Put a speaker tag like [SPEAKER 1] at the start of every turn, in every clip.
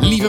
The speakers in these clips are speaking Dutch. [SPEAKER 1] Lieve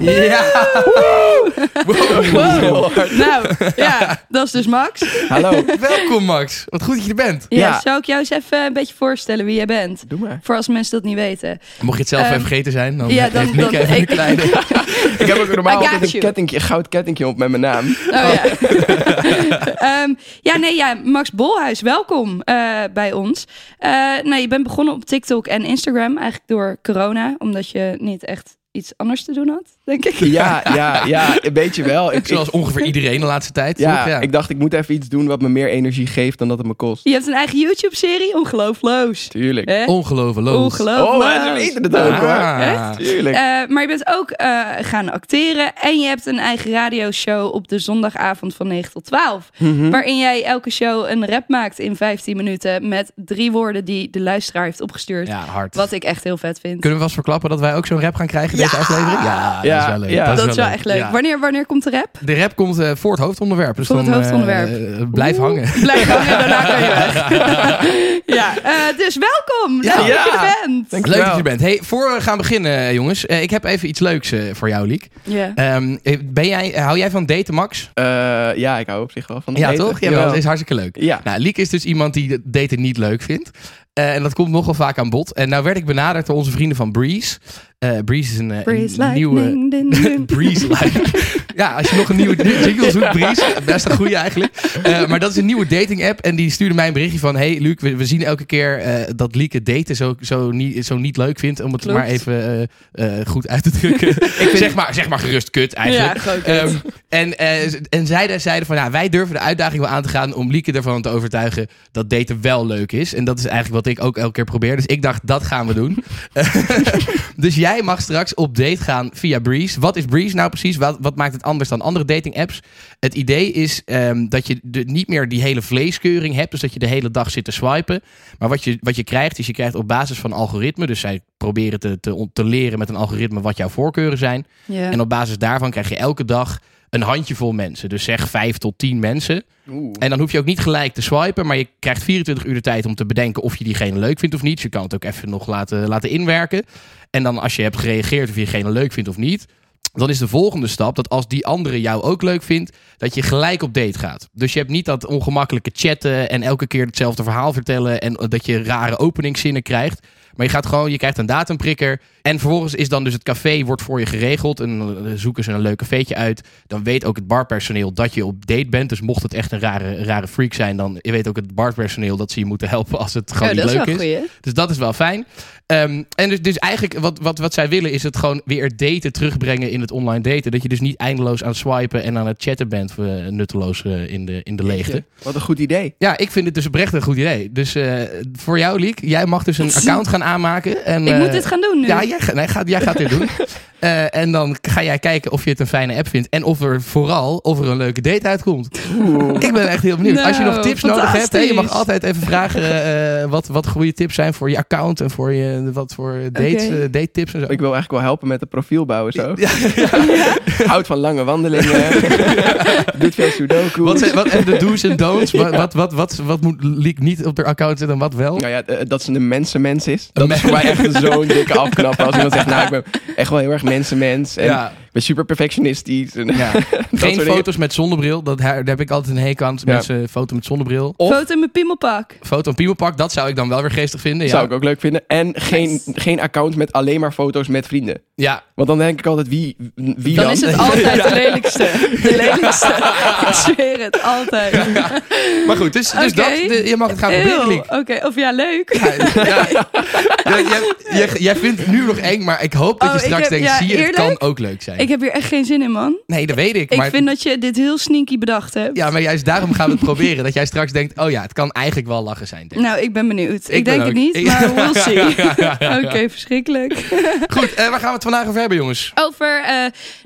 [SPEAKER 2] Ja,
[SPEAKER 3] Nou, ja, dat is dus Max.
[SPEAKER 2] hallo.
[SPEAKER 1] Welkom Max, wat goed dat je er bent.
[SPEAKER 3] Ja,
[SPEAKER 2] Ja.
[SPEAKER 3] Zou ik jou eens even een beetje voorstellen wie jij bent?
[SPEAKER 2] Doe maar.
[SPEAKER 3] Voor als mensen dat niet weten.
[SPEAKER 1] Mocht je het zelf
[SPEAKER 3] Ehm,
[SPEAKER 1] even vergeten zijn, dan
[SPEAKER 3] ja,
[SPEAKER 1] heeft
[SPEAKER 3] dan-
[SPEAKER 1] Nick
[SPEAKER 3] dan-
[SPEAKER 1] even een
[SPEAKER 3] ik-
[SPEAKER 1] kleine...
[SPEAKER 2] Ik heb ook normaal
[SPEAKER 3] I got
[SPEAKER 2] altijd een,
[SPEAKER 3] you.
[SPEAKER 2] kettingje, een goud kettingje op met mijn naam.
[SPEAKER 3] Oh, ja. Ehm, ja, nee, ja, Max Bolhuis, welkom eh, bij ons. Eh, nou, je bent begonnen op TikTok en Instagram, eigenlijk door corona, omdat je niet echt iets anders te doen had, denk ik.
[SPEAKER 2] Ja, ja, ja, een beetje wel. Ik, ik-
[SPEAKER 1] Zoals ongeveer iedereen de laatste tijd.
[SPEAKER 2] ja,
[SPEAKER 1] toch?
[SPEAKER 2] ik dacht ik moet even iets doen wat me meer energie geeft dan dat het me kost.
[SPEAKER 3] Je hebt een eigen YouTube-serie, ongelooflijk.
[SPEAKER 2] Tuurlijk.
[SPEAKER 3] Hè?
[SPEAKER 1] Ongelooflijk.
[SPEAKER 2] Oh,
[SPEAKER 3] Ongelooflijk.
[SPEAKER 2] maar ze weten het ook hoor.
[SPEAKER 1] Ah.
[SPEAKER 2] Tuurlijk.
[SPEAKER 3] Eh, maar je bent ook eh, gaan acteren en je hebt een eigen radioshow op de zondagavond van 9 tot 12.
[SPEAKER 1] Mhm.
[SPEAKER 3] Waarin jij elke show een rap maakt in 15 minuten met drie woorden die de luisteraar heeft opgestuurd.
[SPEAKER 1] Ja, hard.
[SPEAKER 3] Wat ik echt heel vet vind.
[SPEAKER 1] Kunnen we vast verklappen dat wij ook zo'n rap gaan krijgen in deze aflevering? Ja, dat is
[SPEAKER 2] Ja,
[SPEAKER 1] wel leuk.
[SPEAKER 2] ja.
[SPEAKER 3] dat, is wel
[SPEAKER 1] leuk.
[SPEAKER 3] echt leuk.
[SPEAKER 1] Ja.
[SPEAKER 3] Wanneer, wanneer komt de rap?
[SPEAKER 1] De rap komt eh, voor het hoofdonderwerp. Dus
[SPEAKER 3] Voor het
[SPEAKER 1] dan, eh,
[SPEAKER 3] hoofdonderwerp.
[SPEAKER 1] eh, blijf hangen.
[SPEAKER 3] Blijf hangen, daarna kan je weg. ja, eh, dus welkom.
[SPEAKER 1] Ja.
[SPEAKER 3] Leuk dat
[SPEAKER 2] Ja.
[SPEAKER 3] je bent.
[SPEAKER 2] Dank je
[SPEAKER 1] Leuk dat
[SPEAKER 2] wel.
[SPEAKER 1] je er bent. Hey, voor we gaan beginnen, eh, jongens. eh, ik heb even iets leuks eh, voor jou, Liek.
[SPEAKER 3] Ja.
[SPEAKER 1] Ehm, eh, ben jij, hou jij van daten, Max?
[SPEAKER 2] Eh, ja, ik hou op zich wel van
[SPEAKER 1] Ja,
[SPEAKER 2] eten.
[SPEAKER 1] toch? Ja,
[SPEAKER 2] Jawel.
[SPEAKER 1] dat is hartstikke leuk.
[SPEAKER 2] Ja.
[SPEAKER 1] Nou, Liek is dus iemand die de- daten niet leuk vindt. Eh, en dat komt nogal vaak aan bod. En nou werd ik benaderd door onze vrienden van Breeze. Eh, Breeze is een, eh,
[SPEAKER 3] Breeze
[SPEAKER 1] een nieuwe...
[SPEAKER 3] lightning, din, din.
[SPEAKER 1] Breeze like. Ja, als je nog een nieuwe jingle zoekt, Breeze. Best een goede eigenlijk. Eh, maar dat is een nieuwe dating app. En die stuurde mij een berichtje van... Hey Luc, we, we zien elke keer eh, dat Lieke daten zo, zo, niet, zo niet leuk vindt. Om het
[SPEAKER 3] Klopt.
[SPEAKER 1] maar even eh, eh, goed uit te drukken. Ik vind- zeg, maar, zeg maar gerust kut eigenlijk.
[SPEAKER 3] Ja, gewoon kut.
[SPEAKER 1] Ehm, en eh, z- en zij zeiden van, ja, wij durven de uitdaging wel aan te gaan om Lieke ervan te overtuigen dat daten wel leuk is. En dat is eigenlijk wat ik ook elke keer probeer. Dus ik dacht, dat gaan we doen. dus jij mag straks op date gaan via Breeze. Wat is Breeze nou precies? Wat, wat maakt het anders dan andere dating apps? Het idee is ehm, dat je de, niet meer die hele vleeskeuring hebt. Dus dat je de hele dag zit te swipen. Maar wat je, wat je krijgt, is je krijgt op basis van algoritme. Dus zij proberen te, te, on- te leren met een algoritme wat jouw voorkeuren zijn.
[SPEAKER 3] Ja.
[SPEAKER 1] En op basis daarvan krijg je elke dag een handjevol mensen. Dus zeg vijf tot tien mensen.
[SPEAKER 2] Oeh.
[SPEAKER 1] En dan hoef je ook niet gelijk te swipen. Maar je krijgt 24 uur de tijd om te bedenken of je diegene leuk vindt of niet. Dus je kan het ook even nog laten, laten inwerken. En dan als je hebt gereageerd of je diegene leuk vindt of niet. Dan is de volgende stap dat als die andere jou ook leuk vindt, dat je gelijk op date gaat. Dus je hebt niet dat ongemakkelijke chatten en elke keer hetzelfde verhaal vertellen en dat je rare openingszinnen krijgt. Maar je gaat gewoon, je krijgt een datumprikker. En vervolgens is dan dus het café wordt voor je geregeld. En dan eh, zoeken ze een leuk cafeetje uit. Dan weet ook het barpersoneel dat je op date bent. Dus mocht het echt een rare, rare freak zijn, dan weet ook het barpersoneel dat ze je moeten helpen als het gewoon
[SPEAKER 3] Oh, dat
[SPEAKER 1] niet
[SPEAKER 3] is wel
[SPEAKER 1] leuk is.
[SPEAKER 3] goed, hè?
[SPEAKER 1] Dus dat is wel fijn. Ehm, en dus, dus eigenlijk wat, wat, wat zij willen is het gewoon weer daten terugbrengen in het online daten. Dat je dus niet eindeloos aan het swipen en aan het chatten bent eh, nutteloos eh, in, de, in de leegte.
[SPEAKER 2] Wat een goed idee.
[SPEAKER 1] Ja, ik vind het dus oprecht een goed idee. Dus eh, voor jou, Liek, jij mag dus een account gaan aanmaken. En,
[SPEAKER 3] Ik
[SPEAKER 1] eh,
[SPEAKER 3] moet dit gaan doen nu.
[SPEAKER 1] Ja, jij, ga- nee, gaat, jij gaat dit doen. Eh, en dan ga jij kijken of je het een fijne app vindt. En of er vooral of er een leuke date uitkomt. Ik ben echt heel benieuwd. Als je nog
[SPEAKER 3] Nou,
[SPEAKER 1] tips nodig hebt, hè, je mag
[SPEAKER 3] fantastisch.
[SPEAKER 1] altijd even vragen eh, wat, wat goede tips zijn voor je account. En voor je, wat voor dates,
[SPEAKER 3] Oké.
[SPEAKER 1] eh, date tips en zo.
[SPEAKER 2] Ik wil eigenlijk wel helpen met het profiel bouwen zo.
[SPEAKER 1] Ja,
[SPEAKER 2] Houdt van lange wandelingen. Doet veel sudoku.
[SPEAKER 1] wat, zijn- wat, en de do's en don'ts. Wat, wat, wat, wat, wat moet Liek niet op haar account zetten en wat wel?
[SPEAKER 2] Nou ja, eh, dat ze een mensenmens is.
[SPEAKER 1] Een
[SPEAKER 2] Dat is voor mij echt zo'n dikke afknapper. Als iemand zegt, nou, ik ben echt wel heel erg mensenmens. En
[SPEAKER 1] Ja.
[SPEAKER 2] ik ben super perfectionistisch. En
[SPEAKER 1] Ja.
[SPEAKER 2] dat
[SPEAKER 1] Geen
[SPEAKER 2] soort
[SPEAKER 1] foto's met zonnebril. Dat, daar daar heb ik altijd een hekel aan. Mensen foto met zonnebril. Of
[SPEAKER 3] Foto in mijn piemelpak.
[SPEAKER 1] foto op piemelpak. Dat zou ik dan wel weer geestig vinden.
[SPEAKER 2] dingen.
[SPEAKER 1] Ja,
[SPEAKER 2] Zou ik ook leuk vinden. En geen, geen account met alleen maar foto's met vrienden.
[SPEAKER 1] ja.
[SPEAKER 2] Want dan denk ik altijd, wie, wie
[SPEAKER 3] Dan
[SPEAKER 2] dan?
[SPEAKER 3] is het altijd de lelijkste. De lelijkste. Ik zweer het, altijd.
[SPEAKER 1] maar goed. Dus, dus
[SPEAKER 3] Oké.
[SPEAKER 1] dat, de- je mag het gaan proberen,
[SPEAKER 3] Eeuw,
[SPEAKER 1] Liek.
[SPEAKER 3] Oké, of ja, leuk.
[SPEAKER 1] Ja, ja. Ja, jij, jij- jij vindt het nu nog eng, maar ik hoop dat
[SPEAKER 3] Oh,
[SPEAKER 1] je
[SPEAKER 3] ik
[SPEAKER 1] straks
[SPEAKER 3] heb-
[SPEAKER 1] denkt:
[SPEAKER 3] ja,
[SPEAKER 1] zie je, het
[SPEAKER 3] eerlijk?
[SPEAKER 1] kan ook leuk zijn.
[SPEAKER 3] Ik heb hier echt geen zin in, man.
[SPEAKER 1] Nee, dat weet ik.
[SPEAKER 3] Ik
[SPEAKER 1] maar...
[SPEAKER 3] vind dat je dit heel sneaky bedacht hebt.
[SPEAKER 1] Ja, maar juist daarom gaan we het proberen. Dat jij straks denkt, oh ja, het kan eigenlijk wel lachen zijn. Dirk.
[SPEAKER 3] Nou, ik ben benieuwd.
[SPEAKER 1] ben
[SPEAKER 3] Ik, denk
[SPEAKER 1] ook.
[SPEAKER 3] het niet,
[SPEAKER 1] Ik-
[SPEAKER 3] maar we'll see.
[SPEAKER 1] Ja, ja,
[SPEAKER 3] Oké,
[SPEAKER 1] ja.
[SPEAKER 3] verschrikkelijk.
[SPEAKER 1] Goed, eh, waar gaan we het vandaag over hebben, jongens?
[SPEAKER 3] Over, eh,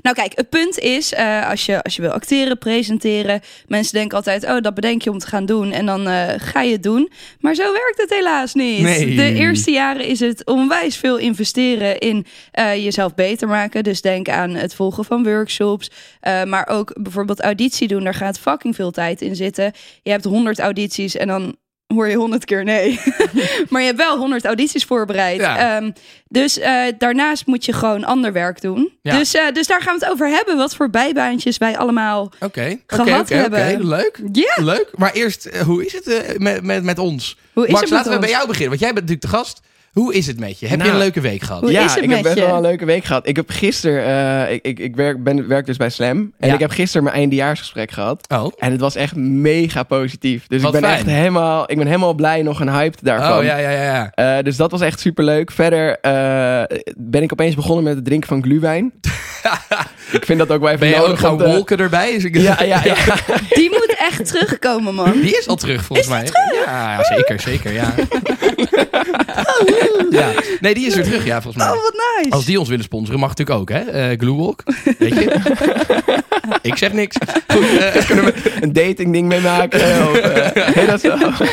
[SPEAKER 3] nou kijk, het punt is, eh, als, je, als je wil acteren, presenteren, mensen denken altijd, oh, dat bedenk je om te gaan doen en dan eh, ga je het doen. Maar zo werkt het helaas niet.
[SPEAKER 1] Nee.
[SPEAKER 3] De eerste jaren is het onwijs veel investeren in eh, jezelf beter maken. Dus denk aan het volgen van workshops, eh, maar ook bijvoorbeeld auditie doen. Daar gaat fucking veel tijd in zitten. Je hebt honderd audities en dan hoor je honderd keer nee. maar je hebt wel honderd audities voorbereid.
[SPEAKER 1] Ja.
[SPEAKER 3] Ehm, dus eh, daarnaast moet je gewoon ander werk doen.
[SPEAKER 1] Ja.
[SPEAKER 3] Dus, eh, dus daar gaan we het over hebben. Wat voor bijbaantjes wij allemaal.
[SPEAKER 1] Oké, oké,
[SPEAKER 3] Gehad
[SPEAKER 1] oké, oké.
[SPEAKER 3] hebben.
[SPEAKER 1] leuk.
[SPEAKER 3] Ja,
[SPEAKER 1] Leuk, maar eerst, eh, hoe is het eh, met, met, met ons?
[SPEAKER 3] Hoe is
[SPEAKER 1] Max,
[SPEAKER 3] het met
[SPEAKER 1] laten we
[SPEAKER 3] ons?
[SPEAKER 1] bij jou beginnen, want jij bent natuurlijk de gast. Hoe is het met je? Heb je
[SPEAKER 2] Nou.
[SPEAKER 1] een leuke week gehad?
[SPEAKER 3] Hoe
[SPEAKER 2] ja,
[SPEAKER 3] is het
[SPEAKER 2] ik
[SPEAKER 3] met
[SPEAKER 2] heb best
[SPEAKER 3] je?
[SPEAKER 2] wel een leuke week gehad. Ik heb gisteren, eh, ik, ik, ik werk, ben, werk dus bij Slam. En
[SPEAKER 1] Ja.
[SPEAKER 2] ik heb gisteren mijn eindejaarsgesprek gehad.
[SPEAKER 1] Oh,
[SPEAKER 2] En het was echt mega positief. Dus
[SPEAKER 1] Wat
[SPEAKER 2] ik ben
[SPEAKER 1] fijn.
[SPEAKER 2] echt helemaal, ik ben helemaal blij nog en hyped daarvan.
[SPEAKER 1] oh ja, ja, ja, ja.
[SPEAKER 2] Eh, dus dat was echt superleuk. Verder eh, ben ik opeens begonnen met het drinken van glühwijn. ik vind dat ook wel even
[SPEAKER 1] Ben je ook
[SPEAKER 2] nodig.
[SPEAKER 1] gaan
[SPEAKER 2] want, eh,
[SPEAKER 1] wolken erbij? Is ik-
[SPEAKER 2] Ja, ja, ja.
[SPEAKER 3] die moet echt terugkomen, man.
[SPEAKER 1] Die is al terug, volgens mij. Ja, ja, zeker, zeker,
[SPEAKER 2] Oh.
[SPEAKER 1] ja. ja. Nee, die is weer terug, ja, volgens mij.
[SPEAKER 3] Oh, wat nice.
[SPEAKER 1] Als die ons willen sponsoren, mag natuurlijk ook, hè? Eh Gluewalk, weet je? ik zeg niks. Goed, eh,
[SPEAKER 2] Kunnen we een dating ding mee maken? Of, eh, nee, dat is wel-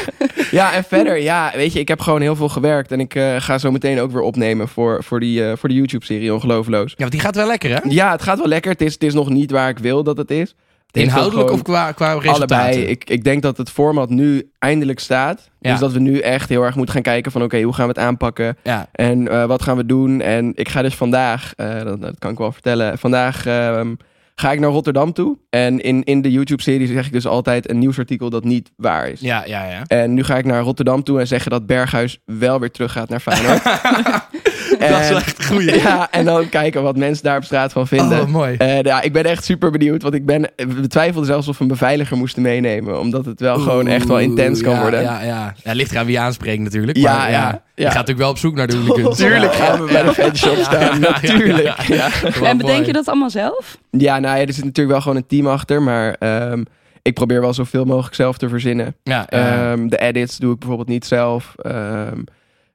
[SPEAKER 2] ja, en verder, ja, weet je, ik heb gewoon heel veel gewerkt. En ik eh, ga zo meteen ook weer opnemen voor, voor die, eh, voor die YouTube-serie Ongeloofloos.
[SPEAKER 1] ja, want die gaat wel lekker, hè?
[SPEAKER 2] Ja, het gaat wel lekker. Het is, het is nog niet waar ik wil dat het is. Het heeft wel
[SPEAKER 1] Inhoudelijk
[SPEAKER 2] gewoon-
[SPEAKER 1] of qua, qua resultaten?
[SPEAKER 2] Allebei. Ik, ik denk dat het format nu eindelijk staat.
[SPEAKER 1] Ja.
[SPEAKER 2] Dus dat we nu echt heel erg moeten gaan kijken van... oké, hoe gaan we het aanpakken?
[SPEAKER 1] Ja.
[SPEAKER 2] En eh, wat gaan we doen? En ik ga dus vandaag, eh, dat, dat kan ik wel vertellen... vandaag ehm, ga ik naar Rotterdam toe. En in, in de YouTube-serie zeg ik dus altijd een nieuwsartikel dat niet waar is.
[SPEAKER 1] Ja, ja, ja.
[SPEAKER 2] En nu ga ik naar Rotterdam toe en zeggen dat Berghuis wel weer teruggaat naar Feyenoord.
[SPEAKER 1] Dat is
[SPEAKER 2] En-
[SPEAKER 1] wel echt een goeie.
[SPEAKER 2] ja, en dan kijken wat mensen daar op straat van vinden.
[SPEAKER 1] Oh, mooi.
[SPEAKER 2] Eh, ja, ik ben echt super benieuwd, want ik ben, we twijfelden zelfs of we een beveiliger moesten meenemen. Omdat het wel gewoon echt wel intens kan
[SPEAKER 1] ja,
[SPEAKER 2] worden.
[SPEAKER 1] Ja, ja. ja, ligt eraan wie je aanspreekt natuurlijk.
[SPEAKER 2] Ja,
[SPEAKER 1] maar, ja,
[SPEAKER 2] ja,
[SPEAKER 1] Je
[SPEAKER 2] ja.
[SPEAKER 1] gaat natuurlijk wel op zoek naar de hooligans.
[SPEAKER 2] Natuurlijk
[SPEAKER 1] Ja,
[SPEAKER 2] gaan we bij de fanshop staan.
[SPEAKER 1] ja, ja,
[SPEAKER 2] Natuurlijk. Ja,
[SPEAKER 1] ja, ja. Wel
[SPEAKER 3] en bedenk
[SPEAKER 1] mooi. Oh,
[SPEAKER 3] je dat allemaal zelf?
[SPEAKER 2] nou ja, er zit natuurlijk wel gewoon een team achter. Maar ehm, ik probeer wel zoveel mogelijk zelf te verzinnen.
[SPEAKER 1] Ja,
[SPEAKER 3] Eh,
[SPEAKER 1] ja.
[SPEAKER 2] Ehm, de edits doe ik bijvoorbeeld niet zelf. Ehm,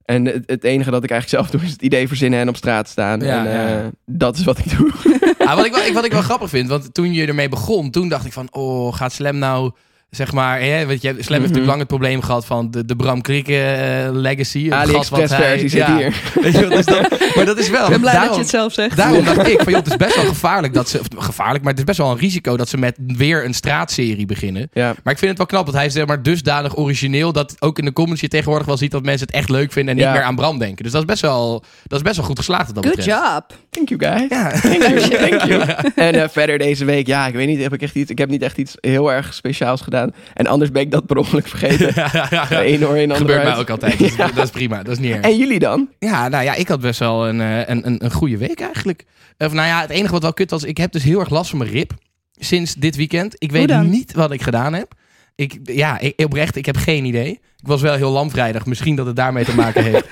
[SPEAKER 2] en het, het enige dat ik eigenlijk zelf doe is het idee verzinnen en op straat staan.
[SPEAKER 1] Ja,
[SPEAKER 2] en eh,
[SPEAKER 1] ja.
[SPEAKER 2] dat is wat ik doe.
[SPEAKER 1] Ah, wat, ik wel, ik- wat ik wel grappig vind, want toen je ermee begon, toen dacht ik van, oh, gaat Slam nou, zeg maar, hè, want je, hebt- Slam heeft natuurlijk
[SPEAKER 2] Mhm.
[SPEAKER 1] lang het probleem gehad van de, de Bram Krikke eh, legacy. het gat wat
[SPEAKER 2] AliExpress
[SPEAKER 1] hij-
[SPEAKER 2] versie zit
[SPEAKER 1] ja.
[SPEAKER 2] hier.
[SPEAKER 1] Weet je, wat, dus dat, maar dat is wel.
[SPEAKER 3] Ik ben blij dat
[SPEAKER 1] daarom,
[SPEAKER 3] je het zelf zegt.
[SPEAKER 1] Daarom dacht ik, van, joh, het is best wel gevaarlijk dat ze, of gevaarlijk, maar het is best wel een risico dat ze met weer een straatserie beginnen.
[SPEAKER 2] Ja.
[SPEAKER 1] Maar ik vind het wel knap, dat hij is zeg maar dusdanig origineel dat ook in de comments je tegenwoordig wel ziet dat mensen het echt leuk vinden en niet
[SPEAKER 2] Ja.
[SPEAKER 1] meer aan Bram denken. Dus dat is best wel, dat is best wel goed geslaagd wat dat
[SPEAKER 3] Good
[SPEAKER 1] betreft.
[SPEAKER 3] job.
[SPEAKER 2] Thank you guys.
[SPEAKER 1] Ja.
[SPEAKER 2] Thank you. Thank you. En eh, verder deze week, ja, ik weet niet, heb ik echt iets, ik heb niet echt iets heel erg speciaals gedaan. En anders ben ik dat per ongeluk vergeten.
[SPEAKER 1] Ja, ja, ja.
[SPEAKER 2] Eén hoor, één ander
[SPEAKER 1] Gebeurt mij
[SPEAKER 2] uit.
[SPEAKER 1] ook altijd. Dus Dat is prima. Dat is niet erg.
[SPEAKER 2] En jullie dan?
[SPEAKER 1] Ja, nou ja, ik had best wel een, eh, een, een, een goede week eigenlijk. Of nou ja, het enige wat wel kut was, ik heb dus heel erg last van mijn rib sinds dit weekend. Ik weet
[SPEAKER 3] dan?
[SPEAKER 1] niet wat ik gedaan heb. Ik, ja, ik, oprecht, ik heb geen idee. Ik was wel heel lam vrijdag. Misschien dat het daarmee te maken heeft.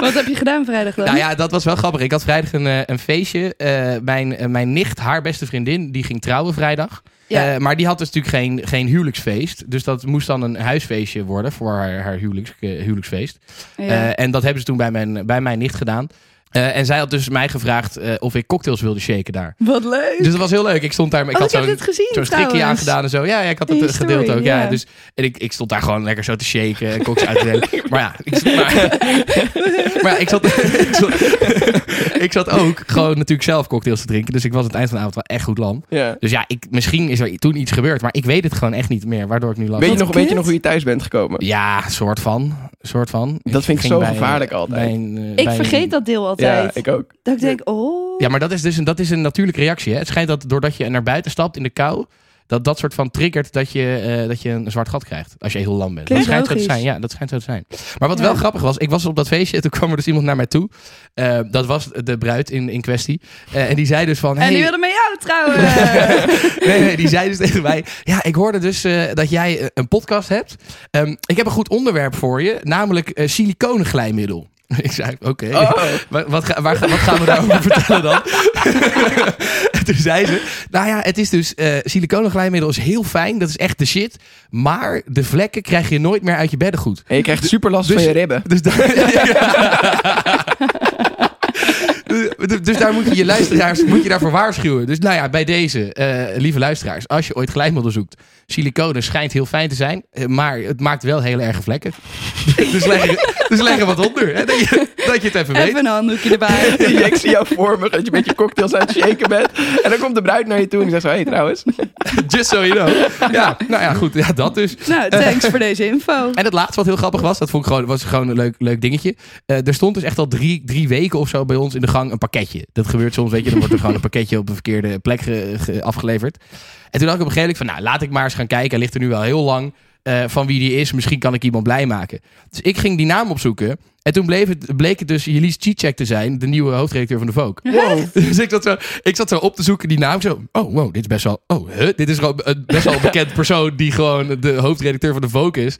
[SPEAKER 3] Wat heb je gedaan vrijdag dan?
[SPEAKER 1] nou ja, dat was wel grappig. Ik had vrijdag een, eh, een feestje. Eh, mijn, eh, mijn nicht, haar beste vriendin, die ging trouwen vrijdag.
[SPEAKER 3] Ja.
[SPEAKER 1] Eh, maar die had dus natuurlijk geen, geen huwelijksfeest. Dus dat moest dan een huisfeestje worden voor haar, haar huwelijks, eh, huwelijksfeest.
[SPEAKER 3] Ja.
[SPEAKER 1] Eh, en dat hebben ze toen bij mijn, bij mijn nicht gedaan. Eh, en zij had dus mij gevraagd eh, of ik cocktails wilde shaken daar.
[SPEAKER 3] wat leuk.
[SPEAKER 1] Dus dat was heel leuk. Ik stond daar. Ik
[SPEAKER 3] oh, ik
[SPEAKER 1] had
[SPEAKER 3] heb
[SPEAKER 1] zo'n
[SPEAKER 3] dit gezien
[SPEAKER 1] zo'n strikje
[SPEAKER 3] trouwens.
[SPEAKER 1] aangedaan en zo. Ja, ja ik had het
[SPEAKER 3] In je
[SPEAKER 1] eh, gedeeld
[SPEAKER 3] story,
[SPEAKER 1] ook. Ja.
[SPEAKER 3] ja.
[SPEAKER 1] Dus, en ik, ik stond daar gewoon lekker zo te shaken en koks uit te delen. Maar ja, ik, maar, maar ja, ik, zat, ik, zat, ik zat ook gewoon natuurlijk zelf cocktails te drinken. Dus ik was aan het eind van de avond wel echt goed lam.
[SPEAKER 2] Ja.
[SPEAKER 1] Dus ja, ik, misschien is er toen iets gebeurd. Maar ik weet het gewoon echt niet meer. Waardoor ik nu last
[SPEAKER 2] Weet je,
[SPEAKER 1] heb.
[SPEAKER 2] nog, weet je
[SPEAKER 3] kut.
[SPEAKER 2] nog hoe je thuis bent gekomen?
[SPEAKER 1] Ja, soort van. Soort van.
[SPEAKER 2] Dat vind ik
[SPEAKER 1] ging
[SPEAKER 2] zo
[SPEAKER 1] bij-
[SPEAKER 2] gevaarlijk altijd.
[SPEAKER 1] bij een, eh,
[SPEAKER 3] Ik
[SPEAKER 1] bij een-
[SPEAKER 3] vergeet dat deel
[SPEAKER 2] Ja,
[SPEAKER 3] altijd.
[SPEAKER 2] ik ook.
[SPEAKER 3] Dat ik denk, oh.
[SPEAKER 1] Ja, maar dat is dus een, dat is een natuurlijke reactie. Hè? Het schijnt dat doordat je naar buiten stapt in de kou, dat dat soort van triggert dat je, eh, dat je een zwart gat krijgt. Als je heel lam bent. Dat
[SPEAKER 3] Klinkt
[SPEAKER 1] schijnt zo te
[SPEAKER 3] logisch.
[SPEAKER 1] zijn. Ja, dat schijnt zo te zijn. Maar wat
[SPEAKER 3] Ja.
[SPEAKER 1] wel grappig was, ik was op dat feestje en toen kwam er dus iemand naar mij toe. Eh, dat was de bruid in, in kwestie. Eh, en die zei dus van.
[SPEAKER 3] En
[SPEAKER 1] hey,
[SPEAKER 3] nu willen met jou trouwen.
[SPEAKER 1] nee, nee, die zei dus tegen mij: Ja, ik hoorde dus eh, dat jij eh, een podcast hebt. Ehm, ik heb een goed onderwerp voor je, namelijk eh siliconenglijmiddel. Ik zei, oké.
[SPEAKER 2] Oh.
[SPEAKER 1] Wa- Wat, ga- waar, ga- wat gaan we daarover vertellen dan? En toen zei ze, nou ja, het is dus, eh siliconenglijmiddel is heel fijn, dat is echt de shit. Maar de vlekken krijg je nooit meer uit je beddengoed.
[SPEAKER 2] En je krijgt super last
[SPEAKER 1] dus-
[SPEAKER 2] van je ribben.
[SPEAKER 1] Dus, daar- Dus- dus daar moet je je luisteraars moet je daarvoor waarschuwen. Dus nou ja, bij deze, eh, lieve luisteraars, als je ooit glijmiddel zoekt, siliconen schijnt heel fijn te zijn, eh, maar het maakt wel heel erge vlekken. dus, leg er, dus leg er wat onder, hè, dat, je, dat je het even weet.
[SPEAKER 3] Even een handdoekje erbij.
[SPEAKER 2] ik zie jou voor me, dat je met je cocktails aan het shaken bent. En dan komt de bruid naar je toe en die zegt zo, hé hey, trouwens.
[SPEAKER 3] Dus
[SPEAKER 1] Just so you know. Ja, nou ja, goed, ja, dat dus.
[SPEAKER 3] nou, thanks voor deze info.
[SPEAKER 1] En het laatste wat heel grappig was, dat vond ik gewoon, was gewoon een leuk, leuk dingetje. Eh, er stond dus echt al drie, drie weken of zo bij ons in de gang een pakketje. Dat gebeurt soms, weet je, dan wordt er gewoon een pakketje op een verkeerde plek ge- ge- afgeleverd. En toen dacht ik op een gegeven moment van, nou, laat ik maar eens gaan kijken. Hij ligt er nu wel heel lang eh, van wie die is. Misschien kan ik iemand blij maken. Dus ik ging die naam opzoeken. En toen bleef het, bleek het dus Jelise Cicek te zijn, de nieuwe hoofdredacteur van de Vogue.
[SPEAKER 2] Wow.
[SPEAKER 1] Dus ik zat, zo, ik zat zo op te zoeken die naam. Zo, oh, wow, dit is best wel... Oh, huh? dit is gewoon een best wel een bekend persoon... die gewoon de hoofdredacteur van de Vogue is.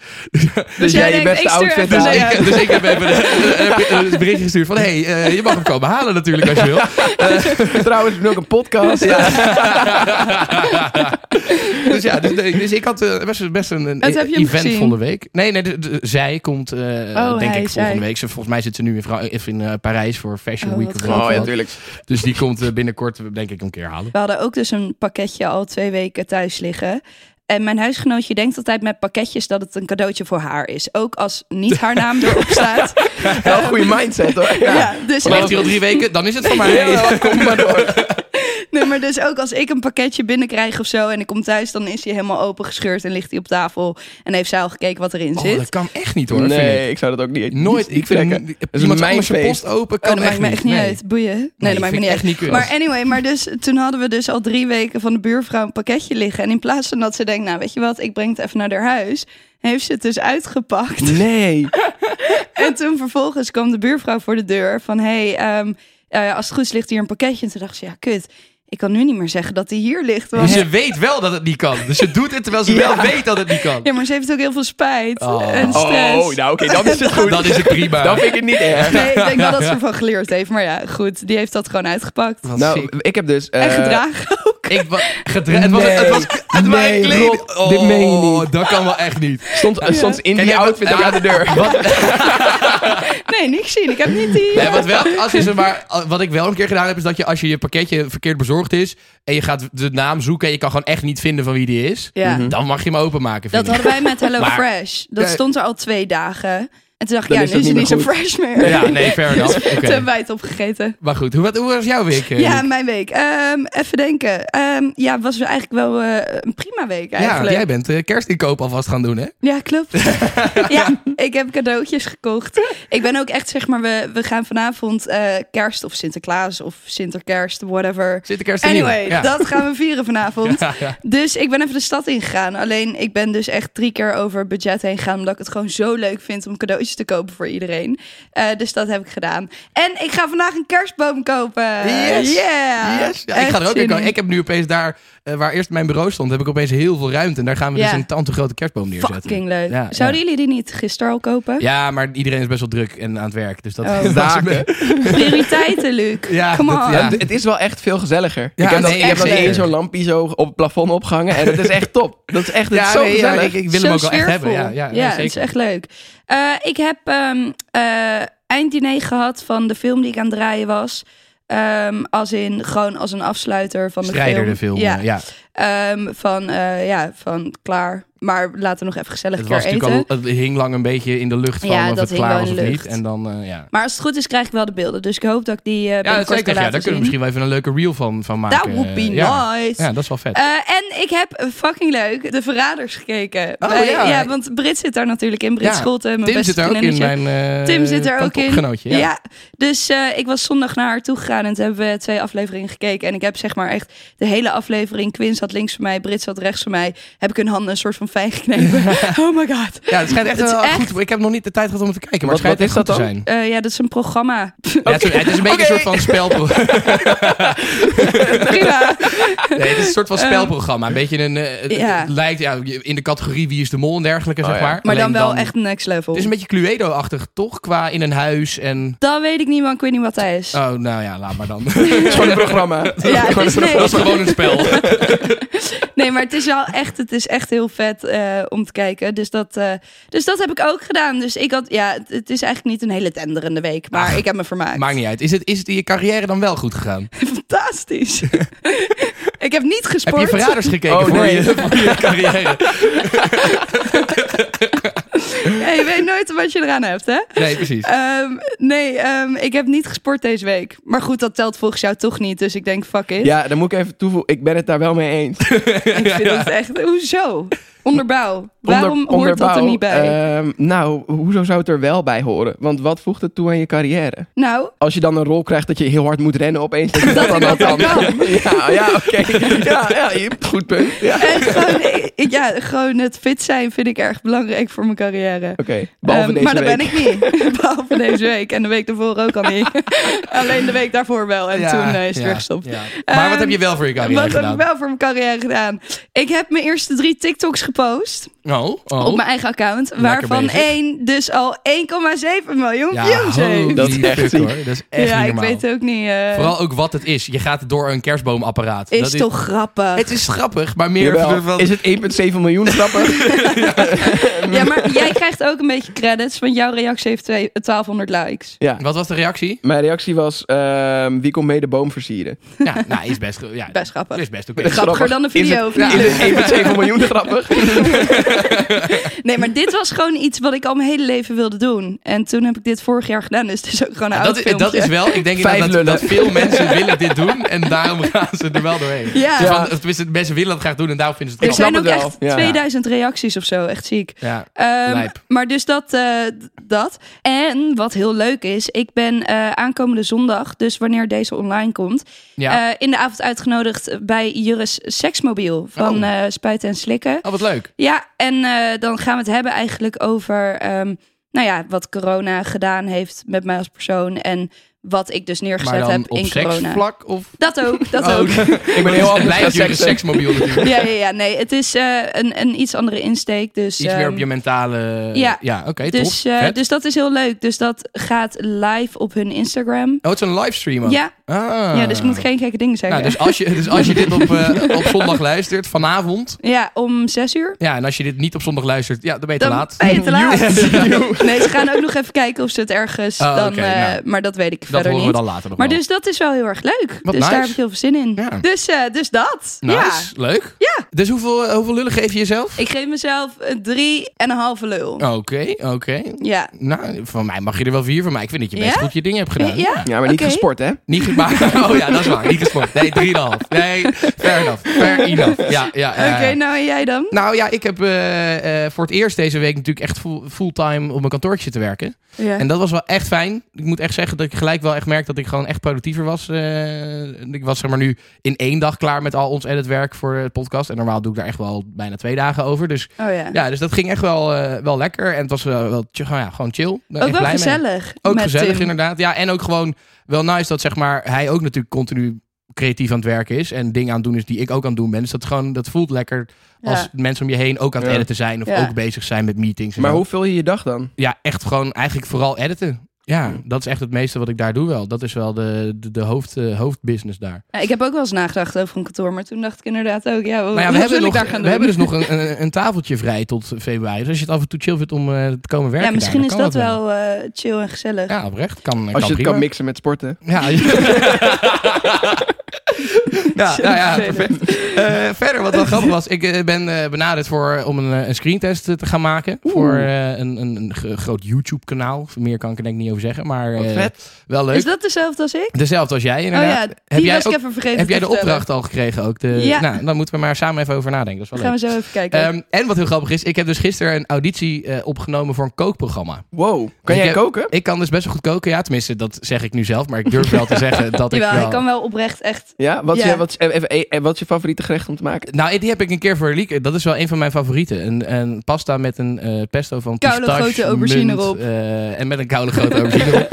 [SPEAKER 2] Dus
[SPEAKER 3] jij
[SPEAKER 2] jij je
[SPEAKER 3] denkt,
[SPEAKER 2] beste
[SPEAKER 3] ik stuur
[SPEAKER 2] outfit
[SPEAKER 3] even
[SPEAKER 2] aan.
[SPEAKER 1] Dus,
[SPEAKER 3] Ja, ja.
[SPEAKER 1] ik, dus ik heb even een, heb een berichtje gestuurd van... hey, eh, je mag hem komen halen natuurlijk als je wil.
[SPEAKER 2] Trouwens, we doen ook een podcast.
[SPEAKER 1] dus ja, dus, nee, dus ik had eh, best, best een, een
[SPEAKER 3] Het heb je hem gezien? Oh,
[SPEAKER 1] eventvolle week. Nee, nee, de- de- zij komt eh, denk
[SPEAKER 3] hij,
[SPEAKER 1] ik volgende
[SPEAKER 3] zij.
[SPEAKER 1] week. Ze, volgens mij zit ze nu in, Fra- of in eh, Parijs voor Fashion
[SPEAKER 3] Oh,
[SPEAKER 1] Week.
[SPEAKER 3] wat
[SPEAKER 1] of
[SPEAKER 3] grappig.
[SPEAKER 1] wat.
[SPEAKER 2] Oh ja, tuurlijk.
[SPEAKER 1] dus die komt eh, binnenkort denk ik een keer halen.
[SPEAKER 3] We hadden ook dus een pakketje al twee weken thuis liggen. En mijn huisgenootje denkt altijd met pakketjes dat het een cadeautje voor haar is. Ook als niet haar naam erop staat.
[SPEAKER 2] Wel een goede mindset hoor.
[SPEAKER 3] Ja,
[SPEAKER 2] Ja.
[SPEAKER 3] dus,
[SPEAKER 1] Ligt hier al drie weken, dan is het voor mij.
[SPEAKER 2] Ja, kom maar door.
[SPEAKER 3] nee, maar dus ook als ik een pakketje binnenkrijg of zo en ik kom thuis, dan is hij helemaal opengescheurd en ligt hij op tafel. En heeft zij al gekeken wat erin
[SPEAKER 1] Oh,
[SPEAKER 3] zit.
[SPEAKER 1] dat kan echt niet hoor. dat vind ik.
[SPEAKER 2] Nee, ik zou dat ook niet
[SPEAKER 1] Nooit.
[SPEAKER 2] niet
[SPEAKER 1] Ik vind
[SPEAKER 2] trekken.
[SPEAKER 1] iemand
[SPEAKER 2] Dat is mijn
[SPEAKER 1] anders zijn
[SPEAKER 2] feest.
[SPEAKER 1] post open
[SPEAKER 3] Oh,
[SPEAKER 1] kan
[SPEAKER 3] dat maakt me echt niet
[SPEAKER 1] Nee.
[SPEAKER 3] uit. Boeien. Nee,
[SPEAKER 1] Nee,
[SPEAKER 3] dat maakt me
[SPEAKER 1] vind
[SPEAKER 3] niet
[SPEAKER 1] ik
[SPEAKER 3] uit.
[SPEAKER 1] echt niet kunnen.
[SPEAKER 3] Maar anyway, maar dus toen hadden we dus al drie weken van de buurvrouw een pakketje liggen. En in plaats van dat ze denkt, nou weet je wat, ik breng het even naar haar huis, heeft ze het dus uitgepakt.
[SPEAKER 2] Nee.
[SPEAKER 3] En toen vervolgens kwam de buurvrouw voor de deur van... hey, ehm, eh, als het goed is ligt hier een pakketje. En toen dacht ze, ja, kut. Ik kan nu niet meer zeggen dat die hier ligt.
[SPEAKER 1] Dus
[SPEAKER 3] Want...
[SPEAKER 1] ze weet wel dat het niet kan. Dus ze doet het terwijl ze
[SPEAKER 2] Ja.
[SPEAKER 1] wel weet dat het niet kan.
[SPEAKER 3] Ja, maar ze heeft ook heel veel spijt
[SPEAKER 1] Oh.
[SPEAKER 3] en stress.
[SPEAKER 2] Oh, nou oké, dan is het goed.
[SPEAKER 1] Dan is het prima.
[SPEAKER 2] Dan vind ik het niet erg.
[SPEAKER 3] Nee, ik denk wel dat ze ervan geleerd heeft. Maar ja, goed, die heeft dat gewoon uitgepakt.
[SPEAKER 1] Wat
[SPEAKER 2] Nou,
[SPEAKER 1] ziek.
[SPEAKER 2] ik heb dus... eh,
[SPEAKER 3] En gedragen ook.
[SPEAKER 1] ik wa- gedra- het was, het was, het was
[SPEAKER 2] Nee,
[SPEAKER 1] een kleed.
[SPEAKER 2] Rob, dit meen je niet.
[SPEAKER 1] Dat kan wel echt niet.
[SPEAKER 2] Stond, eh, stond in
[SPEAKER 1] Ken
[SPEAKER 2] die
[SPEAKER 1] jij wat-
[SPEAKER 2] outfit ook aan de deur.
[SPEAKER 3] Nee, niks zien. Ik heb niet die... eh,
[SPEAKER 1] Nee, wat, wel, als je ze maar, wat ik wel een keer gedaan heb, is dat je als je je pakketje verkeerd bezorgd is. en je gaat de naam zoeken en je kan gewoon echt niet vinden van wie die is.
[SPEAKER 3] Ja.
[SPEAKER 1] dan mag je hem openmaken.
[SPEAKER 3] Dat
[SPEAKER 1] vind ik.
[SPEAKER 3] hadden wij met Hello
[SPEAKER 1] Maar-
[SPEAKER 3] Fresh. Dat
[SPEAKER 1] Ja.
[SPEAKER 3] stond er al twee dagen. En toen dacht ik,
[SPEAKER 2] Dan
[SPEAKER 3] ja,
[SPEAKER 2] is
[SPEAKER 3] nu
[SPEAKER 2] het
[SPEAKER 3] is het
[SPEAKER 2] niet
[SPEAKER 3] niet zo
[SPEAKER 2] meer goed.
[SPEAKER 3] fresh meer.
[SPEAKER 1] Ja, nee, fair enough.
[SPEAKER 3] Toen
[SPEAKER 1] Oké.
[SPEAKER 3] hebben wij het opgegeten.
[SPEAKER 1] Maar goed, hoe, wat- hoe was jouw week? eh,
[SPEAKER 3] Ja,
[SPEAKER 1] Nick?
[SPEAKER 3] mijn week. Ehm, even denken. Ehm, ja, het was eigenlijk wel eh, een prima week
[SPEAKER 1] ja
[SPEAKER 3] eigenlijk.
[SPEAKER 1] jij bent eh, kerstinkoop alvast gaan doen, hè?
[SPEAKER 3] Ja, klopt. ja, ik heb cadeautjes gekocht. Ik ben ook echt, zeg maar, we, we gaan vanavond eh, kerst of Sinterklaas of Sinterkerst, whatever.
[SPEAKER 1] Zit de kerst en nieuw?
[SPEAKER 3] Anyway,
[SPEAKER 1] Ja.
[SPEAKER 3] dat gaan we vieren vanavond.
[SPEAKER 1] Ja, ja.
[SPEAKER 3] Dus ik ben even de stad ingegaan. Alleen ik ben dus echt drie keer over budget heen gegaan. Omdat ik het gewoon zo leuk vind om cadeautjes te kopen voor iedereen. Eh, dus dat heb ik gedaan. En ik ga vandaag een kerstboom kopen.
[SPEAKER 1] Yes.
[SPEAKER 3] Yeah.
[SPEAKER 1] Yes. Ja, ik ga er
[SPEAKER 3] Echt
[SPEAKER 1] ook
[SPEAKER 3] zin
[SPEAKER 1] in komen.
[SPEAKER 3] in.
[SPEAKER 1] Ik heb nu opeens daar, eh, waar eerst mijn bureau stond, heb ik opeens heel veel ruimte. En daar gaan we
[SPEAKER 3] Ja.
[SPEAKER 1] dus een tante grote kerstboom neerzetten.
[SPEAKER 3] Fucking leuk.
[SPEAKER 1] Ja,
[SPEAKER 3] Zouden jullie die niet gisteren al kopen?
[SPEAKER 1] Ja, maar iedereen is best wel druk en aan het werk. Dus dat
[SPEAKER 3] Oh.
[SPEAKER 1] is
[SPEAKER 2] Zaken.
[SPEAKER 3] Prioriteiten, Luc.
[SPEAKER 1] Ja,
[SPEAKER 3] Come
[SPEAKER 1] dat-
[SPEAKER 3] on.
[SPEAKER 1] ja.
[SPEAKER 2] Het, het is wel echt veel gezelliger.
[SPEAKER 1] Ja,
[SPEAKER 2] ik heb dan,
[SPEAKER 1] nee,
[SPEAKER 2] ik heb dan
[SPEAKER 1] zeker.
[SPEAKER 2] één zo'n lampje zo op het plafond opgehangen. En dat is echt top. Dat is echt het is
[SPEAKER 1] Ja,
[SPEAKER 2] zo
[SPEAKER 1] nee, ja,
[SPEAKER 2] gezellig.
[SPEAKER 1] ik, ik wil
[SPEAKER 3] Zo
[SPEAKER 1] hem ook wel echt hebben.
[SPEAKER 3] sfeervol.
[SPEAKER 1] Ja, ja, ja,
[SPEAKER 3] het
[SPEAKER 1] zeker.
[SPEAKER 3] is echt leuk. Eh, ik heb ehm eh, einddiner gehad van de film die ik aan het draaien was. Ehm, als in, gewoon als een afsluiter van de
[SPEAKER 1] Strijder
[SPEAKER 3] film.
[SPEAKER 1] de film.
[SPEAKER 3] Ja,
[SPEAKER 1] Ja. Ja.
[SPEAKER 3] Ehm, van, eh, ja, van klaar. Maar laten we nog even gezellig
[SPEAKER 1] Het,
[SPEAKER 3] een
[SPEAKER 1] was
[SPEAKER 3] keer eten.
[SPEAKER 1] natuurlijk al, het hing lang een beetje in de lucht van
[SPEAKER 3] Ja,
[SPEAKER 1] of
[SPEAKER 3] dat
[SPEAKER 1] het
[SPEAKER 3] hing
[SPEAKER 1] klaar
[SPEAKER 3] wel
[SPEAKER 1] was
[SPEAKER 3] in
[SPEAKER 1] of
[SPEAKER 3] de
[SPEAKER 1] niet.
[SPEAKER 3] lucht.
[SPEAKER 1] En dan, eh, ja.
[SPEAKER 3] Maar als het goed is krijg ik wel de beelden. Dus ik hoop dat ik die eh
[SPEAKER 1] Ja, dat
[SPEAKER 3] binnenkort
[SPEAKER 1] zeker.
[SPEAKER 3] kan
[SPEAKER 1] Ja,
[SPEAKER 3] laten
[SPEAKER 1] daar kunnen we
[SPEAKER 3] zien.
[SPEAKER 1] misschien wel even een leuke reel van, van maken.
[SPEAKER 3] That would be
[SPEAKER 1] Eh, ja.
[SPEAKER 3] nice.
[SPEAKER 1] Ja, dat is wel vet.
[SPEAKER 3] Eh, en ik heb eh, fucking leuk De Verraders gekeken.
[SPEAKER 1] Oh,
[SPEAKER 3] Bij-
[SPEAKER 1] ja.
[SPEAKER 3] want Brit zit daar natuurlijk in. Brit
[SPEAKER 1] Ja,
[SPEAKER 3] Scholten, mijn
[SPEAKER 1] Tim
[SPEAKER 3] beste
[SPEAKER 1] zit er ook in.
[SPEAKER 3] vriendinnetje.
[SPEAKER 1] Mijn, eh,
[SPEAKER 3] Tim zit er ook in.
[SPEAKER 1] kampopgenootje,
[SPEAKER 3] Ja.
[SPEAKER 1] Ja.
[SPEAKER 3] dus eh, ik was zondag naar haar toe gegaan en toen hebben we twee afleveringen gekeken. En ik heb zeg maar echt de hele aflevering Quins zat links van mij, Brit zat rechts van mij. Heb ik hun handen een soort van fijn geknepen. oh my god.
[SPEAKER 1] Ja, het schijnt echt
[SPEAKER 3] Het is
[SPEAKER 1] wel
[SPEAKER 3] echt-
[SPEAKER 1] goed. Ik heb nog niet de tijd gehad om het te kijken, maar
[SPEAKER 2] Wat-
[SPEAKER 1] het schijnt echt goed
[SPEAKER 2] wat
[SPEAKER 1] te
[SPEAKER 2] is dat
[SPEAKER 1] zijn.
[SPEAKER 3] Eh, ja, dat is een programma.
[SPEAKER 1] Ja, het, is, het is een beetje een soort van spelprogramma.
[SPEAKER 3] Prima.
[SPEAKER 1] Nee, het is een soort van spelprogramma. Een beetje een. eh, het-
[SPEAKER 3] Eh, Ja.
[SPEAKER 1] het lijkt ja, in de categorie wie is de mol en dergelijke,
[SPEAKER 2] Oh,
[SPEAKER 1] zeg
[SPEAKER 2] ja.
[SPEAKER 1] maar.
[SPEAKER 3] Maar dan
[SPEAKER 1] Alleen
[SPEAKER 3] wel echt next level.
[SPEAKER 1] Het is een beetje Cluedo-achtig, toch? Qua in een huis en.
[SPEAKER 3] Dat weet ik niet, man. Ik weet niet wat hij is.
[SPEAKER 1] Oh, nou ja, laat maar dan.
[SPEAKER 2] Het is gewoon een programma.
[SPEAKER 3] Ja, het is, nee,
[SPEAKER 1] Dat is gewoon een spel.
[SPEAKER 3] nee, maar het is wel echt, het is echt heel vet eh, om te kijken. Dus dat, eh, dus dat heb ik ook gedaan. Dus ik had, ja, het, het is eigenlijk niet een hele tenderende week, maar ik heb me vermaakt.
[SPEAKER 1] Maakt niet uit. Is het, is het in je carrière dan wel goed gegaan?
[SPEAKER 3] Fantastisch. ik heb niet
[SPEAKER 1] Heb
[SPEAKER 3] gesport.
[SPEAKER 1] je verraders gekeken
[SPEAKER 2] Oh,
[SPEAKER 1] voor,
[SPEAKER 2] nee.
[SPEAKER 1] je, voor je carrière?
[SPEAKER 3] Ja, je weet nooit wat je eraan hebt, hè?
[SPEAKER 1] Nee, precies.
[SPEAKER 3] Ehm, nee, ehm, ik heb niet gesport deze week. Maar goed, dat telt volgens jou toch niet. Dus ik denk, fuck it.
[SPEAKER 2] Ja, dan moet ik even toevoegen. Ik ben het daar wel mee eens.
[SPEAKER 3] Ik vind het echt... Hoezo? Onderbouw.
[SPEAKER 2] Onder-
[SPEAKER 3] Waarom hoort dat er
[SPEAKER 2] onderbouw,
[SPEAKER 3] niet bij?
[SPEAKER 2] ehm, nou, hoezo zou het er wel bij horen? Want wat voegt het toe aan je carrière?
[SPEAKER 3] nou,
[SPEAKER 2] Als je dan een rol krijgt dat je heel hard moet rennen opeens. Dat je dat dan
[SPEAKER 3] dat
[SPEAKER 2] wel
[SPEAKER 3] dan
[SPEAKER 2] Ja, ja oké. Ja, ja, je- goed punt. Ja. Oké,
[SPEAKER 3] en gewoon, ik- ik- ja, gewoon het fit zijn vind ik erg belangrijk voor mijn carrière.
[SPEAKER 2] behalve
[SPEAKER 3] Ehm,
[SPEAKER 2] deze
[SPEAKER 3] maar dat
[SPEAKER 2] week.
[SPEAKER 3] ben ik niet. Behalve deze week. En de week daarvoor ook al niet. Alleen de week daarvoor wel. En toen eh, is het
[SPEAKER 1] ja,
[SPEAKER 3] weer gestopt.
[SPEAKER 1] ja. Maar wat
[SPEAKER 3] Ehm,
[SPEAKER 1] heb je wel voor je carrière
[SPEAKER 3] Wat heb
[SPEAKER 1] gedaan?
[SPEAKER 3] ik wel voor mijn carrière gedaan? Ik heb mijn eerste drie TikToks gepost
[SPEAKER 1] Oh, oh.
[SPEAKER 3] op mijn eigen account.
[SPEAKER 1] Lekker
[SPEAKER 3] waarvan
[SPEAKER 1] bezig.
[SPEAKER 3] één dus al 1,7 miljoen
[SPEAKER 1] ja,
[SPEAKER 3] views heeft.
[SPEAKER 1] dat is echt
[SPEAKER 2] ziek.
[SPEAKER 1] hoor. Dat is echt
[SPEAKER 3] ja,
[SPEAKER 1] niet
[SPEAKER 3] ik
[SPEAKER 1] normaal.
[SPEAKER 3] weet ook niet. eh,
[SPEAKER 1] Vooral ook wat het is. Je gaat door een kerstboomapparaat.
[SPEAKER 3] is
[SPEAKER 1] dat
[SPEAKER 3] toch grappig?
[SPEAKER 1] Het is grappig, maar meer...
[SPEAKER 2] Jawel.
[SPEAKER 1] van-
[SPEAKER 2] Is het 1,7 miljoen grappig?
[SPEAKER 3] Ja, maar jij krijgt ook een beetje credits, want jouw reactie heeft twee- 1200 likes.
[SPEAKER 2] ja.
[SPEAKER 1] Wat was de reactie?
[SPEAKER 2] Mijn reactie was, ehm, wie komt mee de boom versieren?
[SPEAKER 1] Ja, nou, is best... Ja,
[SPEAKER 3] Best grappig.
[SPEAKER 1] Is best oké.
[SPEAKER 2] Is
[SPEAKER 3] Grappiger dan
[SPEAKER 2] grappig.
[SPEAKER 3] de
[SPEAKER 2] Is het-
[SPEAKER 3] video, of
[SPEAKER 2] ja,
[SPEAKER 3] niet?
[SPEAKER 2] Is het 1,7 miljoen grappig?
[SPEAKER 3] Nee, maar dit was gewoon iets wat ik al mijn hele leven wilde doen. En toen heb ik dit vorig jaar gedaan, dus het is ook gewoon een
[SPEAKER 1] Ja,
[SPEAKER 3] oud
[SPEAKER 1] dat, is,
[SPEAKER 3] filmpje.
[SPEAKER 1] dat is wel, ik denk
[SPEAKER 2] Vijf
[SPEAKER 1] inderdaad dat, dat
[SPEAKER 2] lullen.
[SPEAKER 1] veel mensen willen dit doen en daarom gaan ze er wel doorheen.
[SPEAKER 3] Ja.
[SPEAKER 1] Zo van, tenminste, mensen willen dat graag doen en daarom vinden ze
[SPEAKER 3] Er
[SPEAKER 1] het knap.
[SPEAKER 3] zijn
[SPEAKER 2] snap
[SPEAKER 3] ook
[SPEAKER 2] het wel.
[SPEAKER 3] echt
[SPEAKER 2] Ja.
[SPEAKER 3] 2000 reacties of zo, echt ziek.
[SPEAKER 1] Ja.
[SPEAKER 3] Ehm,
[SPEAKER 1] Lijp.
[SPEAKER 3] maar dus dat, eh, d- dat. En wat heel leuk is, ik ben eh, aankomende zondag, dus wanneer deze online komt,
[SPEAKER 1] Ja.
[SPEAKER 3] eh, in de avond uitgenodigd bij Juris Seksmobiel van
[SPEAKER 1] Oh.
[SPEAKER 3] eh, Spuiten en Slikken.
[SPEAKER 1] oh, wat leuk.
[SPEAKER 3] Ja, en eh, dan gaan we het hebben eigenlijk over ehm, nou ja, wat corona gedaan heeft met mij als persoon en wat ik dus
[SPEAKER 1] Maar
[SPEAKER 3] neergezet
[SPEAKER 1] dan
[SPEAKER 3] heb
[SPEAKER 1] op
[SPEAKER 3] in corona.
[SPEAKER 1] seksvlak of...
[SPEAKER 3] Dat ook, dat
[SPEAKER 1] Oh,
[SPEAKER 3] ook.
[SPEAKER 2] Ik ben heel anders
[SPEAKER 1] blij
[SPEAKER 2] gaan
[SPEAKER 1] dat jullie een
[SPEAKER 2] seksen.
[SPEAKER 1] seksmobiel natuurlijk.
[SPEAKER 3] Ja, ja, ja, nee, het is eh, een, een iets andere insteek. Dus,
[SPEAKER 1] Iets meer
[SPEAKER 3] ehm,
[SPEAKER 1] op je mentale... Ja,
[SPEAKER 3] ja.
[SPEAKER 1] oké,
[SPEAKER 3] dus,
[SPEAKER 1] top.
[SPEAKER 3] eh,
[SPEAKER 1] Vet.
[SPEAKER 3] dus dat is heel leuk. Dus dat gaat live op hun Instagram.
[SPEAKER 1] Oh, het is een livestream ook.
[SPEAKER 3] Ja,
[SPEAKER 1] Ah.
[SPEAKER 3] ja, dus ik moet geen gekke dingen zeggen.
[SPEAKER 1] Nou, dus als je, dus als je dit op, eh, op zondag luistert, vanavond...
[SPEAKER 3] Ja, om zes uur.
[SPEAKER 1] Ja, en als je dit niet op zondag luistert, ja, dan ben je dus- te
[SPEAKER 3] Dan
[SPEAKER 1] laat.
[SPEAKER 3] ben je te laat. nee, ze gaan ook nog even kijken of ze het ergens
[SPEAKER 1] Oh,
[SPEAKER 3] dan...
[SPEAKER 1] oké,
[SPEAKER 3] eh,
[SPEAKER 1] nou.
[SPEAKER 3] maar dat weet ik
[SPEAKER 1] Dat
[SPEAKER 3] verder
[SPEAKER 1] horen
[SPEAKER 3] niet.
[SPEAKER 1] we dan later nog
[SPEAKER 3] Maar
[SPEAKER 1] wel.
[SPEAKER 3] dus dat is wel heel erg leuk.
[SPEAKER 1] Wat
[SPEAKER 3] dus
[SPEAKER 1] nice.
[SPEAKER 3] daar heb ik heel veel zin in.
[SPEAKER 1] Ja.
[SPEAKER 3] Dus, eh, dus dat. Ja.
[SPEAKER 1] Nice, Nou, leuk.
[SPEAKER 3] Ja.
[SPEAKER 1] Dus hoeveel, hoeveel lullen geef je jezelf?
[SPEAKER 3] Ik geef mezelf een drie en een halve lul.
[SPEAKER 1] Oké, oké.
[SPEAKER 3] Ja.
[SPEAKER 1] Nou, van mij mag je er wel vier van mij. Ik vind dat je best
[SPEAKER 3] Ja?
[SPEAKER 1] goed je ding hebt gedaan.
[SPEAKER 3] Ja?
[SPEAKER 2] Ja, maar niet
[SPEAKER 3] Oké.
[SPEAKER 2] gesport, hè?
[SPEAKER 1] Niet gemaakt. Oh ja, dat is waar. Niet gesport. Nee, drieënhalf. Nee, fair enough. Fair enough. Ja, ja, ja,
[SPEAKER 3] Oké,
[SPEAKER 1] ja.
[SPEAKER 3] nou en jij dan?
[SPEAKER 1] Nou ja, ik heb eh, eh, voor het eerst deze week natuurlijk echt full- fulltime op mijn kantoortje te werken.
[SPEAKER 3] Ja.
[SPEAKER 1] En dat was wel echt fijn. Ik moet echt zeggen dat ik gelijk wel echt merk dat ik gewoon echt productiever was. Eh, ik was zeg maar nu in één dag klaar met al ons editwerk voor het podcast. En normaal doe ik daar echt wel bijna twee dagen over. Dus
[SPEAKER 3] Oh ja.
[SPEAKER 1] ja, dus dat ging echt wel, eh, wel lekker. En het was wel, wel ch- ja, gewoon chill. Ik ben
[SPEAKER 3] ook
[SPEAKER 1] echt
[SPEAKER 3] wel
[SPEAKER 1] blij mee.
[SPEAKER 3] gezellig.
[SPEAKER 1] Ook
[SPEAKER 3] met
[SPEAKER 1] gezellig
[SPEAKER 3] Tim.
[SPEAKER 1] inderdaad. Ja, en ook gewoon wel nice dat zeg maar, hij ook natuurlijk continu creatief aan het werk is. En dingen aan het doen is die ik ook aan het doen ben. Dus dat, gewoon, dat voelt lekker
[SPEAKER 3] Ja.
[SPEAKER 1] als mensen om je heen ook aan het
[SPEAKER 2] Ja.
[SPEAKER 1] editen zijn. Of
[SPEAKER 3] Ja.
[SPEAKER 1] ook bezig zijn met meetings. en
[SPEAKER 2] Maar
[SPEAKER 1] zo.
[SPEAKER 2] hoe vul je je dag dan?
[SPEAKER 1] Ja, echt gewoon eigenlijk vooral editen. Ja, dat is echt het meeste wat ik daar doe wel. Dat is wel de, de, de hoofd, eh, hoofdbusiness daar.
[SPEAKER 3] Ja, ik heb ook wel eens nagedacht over een kantoor, maar toen dacht ik inderdaad ook, ja, wat,
[SPEAKER 1] Maar ja, we hebben,
[SPEAKER 3] wat wil
[SPEAKER 1] nog,
[SPEAKER 3] ik daar gaan
[SPEAKER 1] we hebben
[SPEAKER 3] doen?
[SPEAKER 1] dus nog een, een, een tafeltje vrij tot februari. Dus als je het af en toe chill vindt om eh, te komen werken
[SPEAKER 3] ja, misschien
[SPEAKER 1] daar,
[SPEAKER 3] is
[SPEAKER 1] dan
[SPEAKER 3] dat
[SPEAKER 1] kan
[SPEAKER 3] wel eh, chill en gezellig.
[SPEAKER 1] Ja, oprecht. Kan, kan
[SPEAKER 2] Als je het
[SPEAKER 1] prima.
[SPEAKER 2] kan mixen met sporten.
[SPEAKER 1] Ja, ja. ja, nou ja, perfect. Eh, verder, wat wel grappig was, ik eh, ben eh, benaderd voor, om een, eh, een screentest eh, te gaan maken. Voor eh, een, een, een ge- groot YouTube-kanaal. Meer kan ik er denk ik niet over zeggen, maar
[SPEAKER 2] Wat
[SPEAKER 1] eh,
[SPEAKER 2] vet.
[SPEAKER 1] wel leuk.
[SPEAKER 3] Is dat dezelfde als ik?
[SPEAKER 1] Dezelfde als jij,
[SPEAKER 3] Oh
[SPEAKER 1] inderdaad.
[SPEAKER 3] ja, die
[SPEAKER 1] heb jij,
[SPEAKER 3] was
[SPEAKER 1] ook-
[SPEAKER 3] ik even vergeten
[SPEAKER 1] heb jij
[SPEAKER 3] te
[SPEAKER 1] de
[SPEAKER 3] vertellen.
[SPEAKER 1] opdracht al gekregen ook? De,
[SPEAKER 3] Ja.
[SPEAKER 1] Nou, dan moeten we maar samen even over nadenken. Dat is wel
[SPEAKER 3] Gaan we
[SPEAKER 1] leuk.
[SPEAKER 3] zo even kijken.
[SPEAKER 1] Ehm, en wat heel grappig is, ik heb dus gisteren een auditie eh, opgenomen voor een kookprogramma.
[SPEAKER 2] Wow.
[SPEAKER 1] Ik
[SPEAKER 2] Kan jij
[SPEAKER 1] heb-
[SPEAKER 2] koken?
[SPEAKER 1] Ik kan dus best wel goed koken, ja. Tenminste, dat zeg ik nu zelf, maar ik durf wel te zeggen dat ik
[SPEAKER 3] Jawel,
[SPEAKER 1] wel...
[SPEAKER 3] ik kan wel oprecht echt
[SPEAKER 2] Ja? Wat, is
[SPEAKER 3] Ja.
[SPEAKER 2] je, wat, is- even, eh, wat is je favoriete gerecht om te maken?
[SPEAKER 1] Nou, die heb ik een keer voor Lieke. Dat is wel een van mijn favorieten. Een, een pasta met een eh, pesto van
[SPEAKER 3] Koude
[SPEAKER 1] pistache,
[SPEAKER 3] grote aubergine
[SPEAKER 1] munt,
[SPEAKER 3] erop.
[SPEAKER 1] eh, en met een koude grote aubergine erop.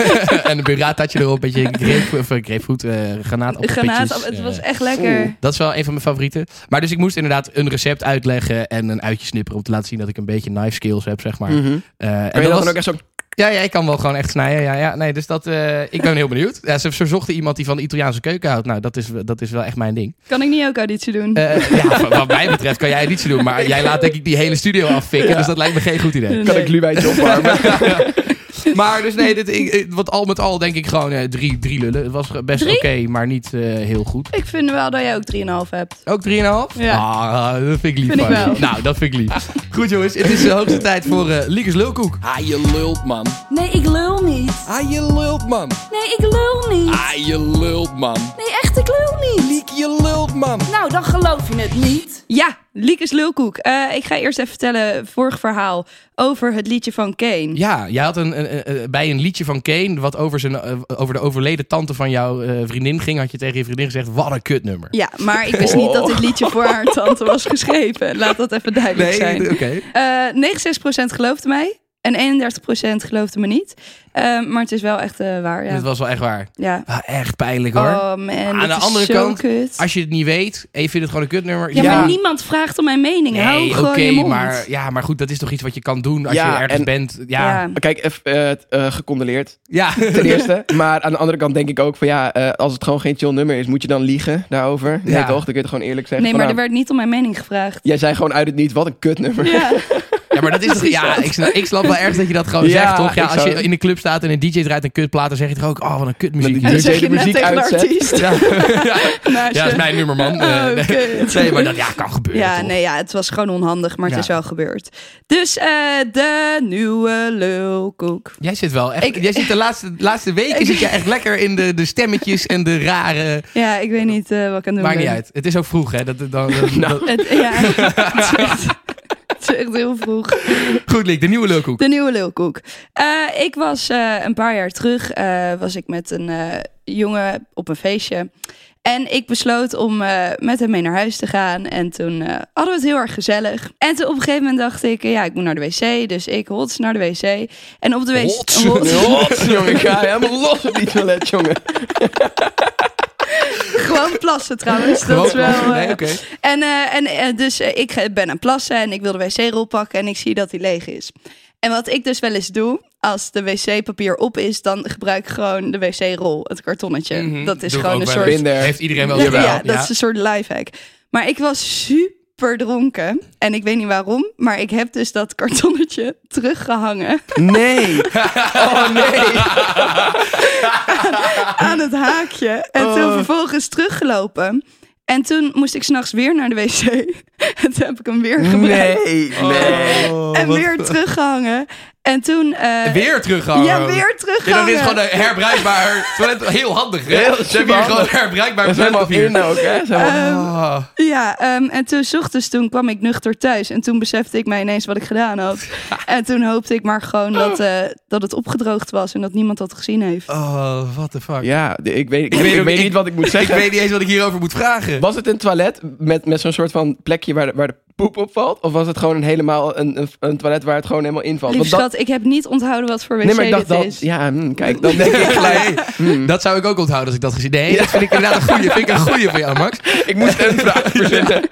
[SPEAKER 1] en een burrataatje erop. Beetje grape, of eh, grapefruit, eh
[SPEAKER 3] Granaat,
[SPEAKER 1] granaatappelpitjes.
[SPEAKER 3] het
[SPEAKER 1] eh.
[SPEAKER 3] was echt lekker.
[SPEAKER 2] Oeh.
[SPEAKER 1] Dat is wel een van mijn favorieten. Maar dus ik moest inderdaad een recept uitleggen en een uitje snipperen om te laten zien dat ik een beetje knife skills heb, zeg maar.
[SPEAKER 2] Mhm.
[SPEAKER 1] Eh, en
[SPEAKER 2] Kan je
[SPEAKER 1] dat
[SPEAKER 2] dat
[SPEAKER 1] was-
[SPEAKER 2] dan ook echt zo...
[SPEAKER 1] ja, ja, ik kan wel gewoon echt snijden. Ja, ja. Nee, dus dat, eh, ik ben heel benieuwd. Ja, ze verzochten iemand die van de Italiaanse keuken houdt. Nou, dat is, dat is wel echt mijn ding.
[SPEAKER 3] Kan ik niet ook auditie doen?
[SPEAKER 1] Eh, ja, wat- wat mij betreft kan jij iets doen. Maar jij laat denk ik die hele studio affikken. Dus dat lijkt me geen goed idee.
[SPEAKER 2] Kan
[SPEAKER 3] Nee.
[SPEAKER 2] ik gluwijtje opwarmen?
[SPEAKER 1] Maar dus nee, dit, ik, ik- want al met al denk ik gewoon eh, drie, drie lullen. Het was best oké,
[SPEAKER 3] Drie?
[SPEAKER 1] maar niet eh, heel goed.
[SPEAKER 3] Ik vind wel dat jij ook 3,5 hebt.
[SPEAKER 1] Ook 3,5?
[SPEAKER 3] Ja.
[SPEAKER 1] Ah, dat vind ik lief.
[SPEAKER 3] Vind ik
[SPEAKER 1] van je.
[SPEAKER 3] wel.
[SPEAKER 1] Nou, dat vind ik lief. Goed jongens, het is de hoogste tijd voor eh Liekers Lulkoek. Ah, je lult man.
[SPEAKER 4] Nee, ik lul niet.
[SPEAKER 1] Ah, je lult man.
[SPEAKER 4] Nee, ik lul niet.
[SPEAKER 1] Ah, je lult man.
[SPEAKER 4] Nee, echt, ik lul niet.
[SPEAKER 1] Liek, je lult man.
[SPEAKER 4] Nou, dan geloof je het niet.
[SPEAKER 3] Ja, Liekes Lulkoek. Eh, ik ga eerst even vertellen, vorig verhaal, over het liedje van Kane.
[SPEAKER 1] Ja, jij had een, een- een- bij een liedje van Kane, wat over, zijn, eh, over de overleden tante van jouw eh, vriendin ging, had je tegen je vriendin gezegd, wat een kutnummer.
[SPEAKER 3] Ja, maar ik wist niet dat dit liedje voor haar tante was geschreven. Laat dat even duidelijk zijn.
[SPEAKER 1] d- oké.
[SPEAKER 3] Eh 69% geloofde mij en 31% geloofde me niet. Eh, maar het is wel echt eh, waar, ja.
[SPEAKER 1] Dat was wel echt waar.
[SPEAKER 3] ja.
[SPEAKER 1] Ah, echt pijnlijk hoor.
[SPEAKER 3] Oh man,
[SPEAKER 1] Aan
[SPEAKER 3] dit
[SPEAKER 1] de
[SPEAKER 3] is
[SPEAKER 1] andere
[SPEAKER 3] zo
[SPEAKER 1] kant,
[SPEAKER 3] kut.
[SPEAKER 1] Als je het niet weet en je vindt het gewoon een kutnummer.
[SPEAKER 3] Ja,
[SPEAKER 2] Ja.
[SPEAKER 3] maar niemand vraagt om mijn mening. Hou
[SPEAKER 1] Nee,
[SPEAKER 3] gewoon je mond.
[SPEAKER 1] maar, ja, maar goed, dat is toch iets wat je kan doen als
[SPEAKER 2] Ja,
[SPEAKER 1] je ergens
[SPEAKER 2] en-
[SPEAKER 1] bent. Ja,
[SPEAKER 3] ja.
[SPEAKER 2] Kijk, even, eh, t- eh, gecondoleerd
[SPEAKER 1] ja.
[SPEAKER 2] ten eerste. Maar aan de andere kant denk ik ook van ja, eh, als het gewoon geen chill nummer is, moet je dan liegen daarover? Nee
[SPEAKER 1] Ja.
[SPEAKER 2] toch? Dan kun je het gewoon eerlijk zeggen.
[SPEAKER 3] Nee,
[SPEAKER 2] van,
[SPEAKER 3] maar er
[SPEAKER 2] nou,
[SPEAKER 3] werd niet om mijn mening gevraagd.
[SPEAKER 2] Jij zei gewoon uit het niet, wat een kutnummer.
[SPEAKER 3] Ja.
[SPEAKER 1] Ja, maar dat is toch... Ja, ik snap, ik snap wel erg dat je dat gewoon
[SPEAKER 2] Ja,
[SPEAKER 1] zegt, toch? Ja,
[SPEAKER 2] ik
[SPEAKER 1] als
[SPEAKER 2] zou-
[SPEAKER 1] je in de club staat en een DJ draait een kutplaat, dan zeg je toch ook... Oh, wat een kutmuziek.
[SPEAKER 2] Met
[SPEAKER 3] En
[SPEAKER 2] die
[SPEAKER 3] dan
[SPEAKER 1] hier.
[SPEAKER 3] zeg je
[SPEAKER 2] DJ de
[SPEAKER 3] net
[SPEAKER 2] muziek
[SPEAKER 3] tegen de
[SPEAKER 2] uitzet.
[SPEAKER 3] artiest
[SPEAKER 1] Ja, ja,
[SPEAKER 3] naast
[SPEAKER 1] ja,
[SPEAKER 3] je.
[SPEAKER 1] is mijn nummer, man. Eh,
[SPEAKER 3] Oh,
[SPEAKER 1] nee.
[SPEAKER 3] kut.
[SPEAKER 1] Nee, maar dat ja, kan gebeuren,
[SPEAKER 3] Ja,
[SPEAKER 1] toch?
[SPEAKER 3] nee, ja, het was gewoon onhandig, maar het
[SPEAKER 1] Ja.
[SPEAKER 3] is wel gebeurd. Dus eh, de nieuwe lulkoek.
[SPEAKER 1] Jij zit wel echt...
[SPEAKER 3] Ik-
[SPEAKER 1] jij zit de laatste, laatste weken zit je echt lekker in de, de stemmetjes en de rare...
[SPEAKER 3] Ja, ik weet niet eh, wat ik aan het doen
[SPEAKER 1] Maakt niet
[SPEAKER 3] ben.
[SPEAKER 1] uit. Het is ook vroeg, hè? Dat, dat, dan- dat-
[SPEAKER 2] Nou.
[SPEAKER 1] dat-
[SPEAKER 3] Het, ja, het is echt- het is echt heel vroeg.
[SPEAKER 1] goed, Liek, de nieuwe leukhoek.
[SPEAKER 3] De nieuwe lulkoek. Eh, ik was eh, een paar jaar terug, eh, was ik met een eh, jongen op een feestje. En ik besloot om eh, met hem mee naar huis te gaan. En toen eh, hadden we het heel erg gezellig. En toen op een gegeven moment dacht ik, eh, ja, ik moet naar de wc. Dus ik hots naar de wc. En op de wc...
[SPEAKER 1] Hots?
[SPEAKER 3] hots.
[SPEAKER 2] Rot, jongen, ik ga helemaal los op die toilet, jongen.
[SPEAKER 3] Gewoon plassen trouwens. Dat
[SPEAKER 1] Gewoon
[SPEAKER 3] is wel.
[SPEAKER 1] plassen.
[SPEAKER 3] eh,
[SPEAKER 1] Nee, oké.
[SPEAKER 3] En, eh, en eh, dus eh, ik eh, ben aan het plassen en ik wil de wc-rol pakken en ik zie dat die leeg is. En wat ik dus wel eens doe, als de wc-papier op is, dan gebruik ik gewoon de wc-rol, het kartonnetje.
[SPEAKER 1] Mhm.
[SPEAKER 3] Dat is
[SPEAKER 1] Doe ik
[SPEAKER 3] gewoon
[SPEAKER 1] ook
[SPEAKER 3] een
[SPEAKER 1] wel eens.
[SPEAKER 3] soort.
[SPEAKER 2] Binder.
[SPEAKER 1] Heeft iedereen wel
[SPEAKER 3] Ja,
[SPEAKER 1] gedaan.
[SPEAKER 3] ja, dat is een soort lifehack. Maar ik was super dronken en ik weet niet waarom, maar ik heb dus dat kartonnetje teruggehangen
[SPEAKER 2] Nee. Oh nee.
[SPEAKER 3] aan het haakje. En
[SPEAKER 2] Oh.
[SPEAKER 3] toen vervolgens teruggelopen. En toen moest ik s'nachts weer naar de wc. En toen heb ik hem weer gebruikt.
[SPEAKER 2] Nee, Oh, nee.
[SPEAKER 3] en weer teruggehangen. En toen... eh,
[SPEAKER 1] Weer teruggehangen.
[SPEAKER 3] Ja, weer
[SPEAKER 1] Ja,
[SPEAKER 3] teruggehangen.
[SPEAKER 1] dat is gewoon een herbruikbaar toilet. Heel handig, hè?
[SPEAKER 2] Heel
[SPEAKER 1] Ze hebben hier gewoon
[SPEAKER 2] superhandig.
[SPEAKER 1] herbruikbaar
[SPEAKER 2] Dat is helemaal in
[SPEAKER 1] toiletpapier.
[SPEAKER 2] ook, hè? Dat is helemaal-
[SPEAKER 1] Ah.
[SPEAKER 3] Ja, ehm, en toen, 's ochtends, toen kwam ik nuchter thuis. En toen besefte ik mij ineens wat ik gedaan had. En toen hoopte ik maar gewoon dat,
[SPEAKER 2] Oh.
[SPEAKER 3] eh, dat het opgedroogd was. En dat niemand dat gezien heeft.
[SPEAKER 1] Oh, what the fuck.
[SPEAKER 2] Ja, de- ik weet, Ah. ik,
[SPEAKER 1] weet
[SPEAKER 2] ik
[SPEAKER 1] ook-
[SPEAKER 2] weet
[SPEAKER 1] ik-
[SPEAKER 2] niet wat ik moet
[SPEAKER 1] Ik
[SPEAKER 2] zeggen.
[SPEAKER 1] weet niet eens wat ik hierover moet vragen.
[SPEAKER 2] Was het een toilet met, met zo'n soort van plekje waar de, waar de poep op valt? Of was het gewoon een helemaal een, een, een toilet waar het gewoon helemaal invalt?
[SPEAKER 3] Lieve
[SPEAKER 2] Oh, dat-
[SPEAKER 3] schat, ik heb niet onthouden wat voor wc
[SPEAKER 2] nee, maar ik dacht
[SPEAKER 3] dit
[SPEAKER 2] dat.
[SPEAKER 3] is.
[SPEAKER 2] Ja, hmm, kijk, dan denk ik gelijk.
[SPEAKER 1] Nee,
[SPEAKER 2] Hmm.
[SPEAKER 1] dat zou ik ook onthouden als ik dat gezien Nee, dat vind ik inderdaad een goede. Vind ik een goede van jou, Max.
[SPEAKER 2] Ik moest een vraag verzinnen.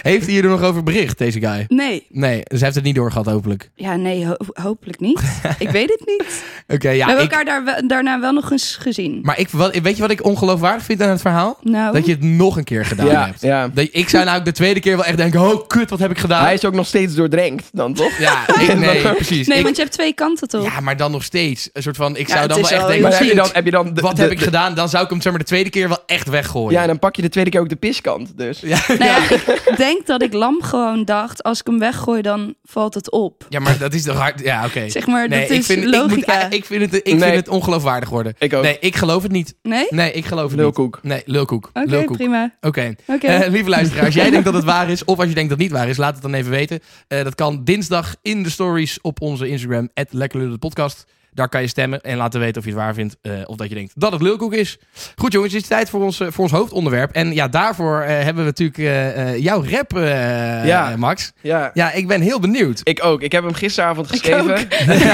[SPEAKER 1] Heeft hij hier nog over bericht, deze guy?
[SPEAKER 3] Nee,
[SPEAKER 1] Nee, dus hij heeft het niet doorgehad, hopelijk.
[SPEAKER 3] ja, nee, ho- hopelijk niet. Ik weet het niet.
[SPEAKER 1] Oké, ja.
[SPEAKER 3] We hebben
[SPEAKER 1] ik-
[SPEAKER 3] elkaar daar, we- daarna wel nog eens gezien.
[SPEAKER 1] maar ik, wat, weet je wat ik ongeloofwaardig vind aan het verhaal?
[SPEAKER 3] nou,
[SPEAKER 1] Dat je het nog een keer gedaan
[SPEAKER 2] Ja,
[SPEAKER 1] hebt.
[SPEAKER 2] ja.
[SPEAKER 1] Dat- ik zou nou ook de tweede keer wel echt denken, oh kut, wat heb ik gedaan?
[SPEAKER 2] Hij is ook nog steeds doordrenkt dan, toch?
[SPEAKER 1] Ja, ik, nee, precies.
[SPEAKER 3] nee,
[SPEAKER 1] Ik-
[SPEAKER 3] want je hebt twee kanten toch?
[SPEAKER 1] Ja, maar dan nog steeds. Een soort van, ik
[SPEAKER 3] Ja,
[SPEAKER 1] zou
[SPEAKER 3] het
[SPEAKER 1] dan
[SPEAKER 3] is
[SPEAKER 1] wel echt
[SPEAKER 3] wel
[SPEAKER 1] denken,
[SPEAKER 3] heel
[SPEAKER 2] Maar heb je
[SPEAKER 1] shit,
[SPEAKER 2] dan, heb je dan de-
[SPEAKER 1] wat
[SPEAKER 2] de-
[SPEAKER 1] heb ik
[SPEAKER 2] de-
[SPEAKER 1] gedaan? Dan zou ik hem zeg maar de tweede keer wel echt weggooien.
[SPEAKER 2] Ja, nou- en dan pak je de tweede keer ook de piskant. Dus.
[SPEAKER 3] Nou ja, ik denk dat ik lam gewoon dacht, als ik hem weggooi, dan valt het op.
[SPEAKER 1] Ja, maar dat is toch hard. Ja, oké.
[SPEAKER 3] Zeg maar,
[SPEAKER 1] Nee,
[SPEAKER 3] dat
[SPEAKER 1] ik
[SPEAKER 3] is
[SPEAKER 1] vind, Ik,
[SPEAKER 3] logica.
[SPEAKER 1] moet, ik vind het, ik vind
[SPEAKER 2] Nee.
[SPEAKER 1] het ongeloofwaardig worden.
[SPEAKER 2] Ik ook.
[SPEAKER 1] Nee, ik geloof het niet.
[SPEAKER 3] Nee?
[SPEAKER 1] Nee, ik geloof het niet.
[SPEAKER 2] Lulkoek.
[SPEAKER 1] Nee, lulkoek.
[SPEAKER 3] Oké,
[SPEAKER 1] lulkoek.
[SPEAKER 3] prima.
[SPEAKER 1] Oké.
[SPEAKER 3] Oké.
[SPEAKER 1] Eh, lieve luisteraar, als jij denkt dat het waar is, of als je denkt dat het niet waar is, laat het dan even weten. Eh, dat kan dinsdag in de stories op onze Instagram, lekkerlullenpodcast. Daar kan je stemmen en laten weten of je het waar vindt. eh, of dat je denkt dat het lulkoek is. Goed jongens, het is tijd voor ons, eh, voor ons hoofdonderwerp. En ja, daarvoor eh, hebben we natuurlijk eh, eh, jouw rap, eh,
[SPEAKER 2] Ja.
[SPEAKER 1] eh, Max.
[SPEAKER 2] Ja.
[SPEAKER 1] Ja, ik ben heel benieuwd.
[SPEAKER 2] Ik ook. Ik heb hem gisteravond geschreven.
[SPEAKER 3] ook.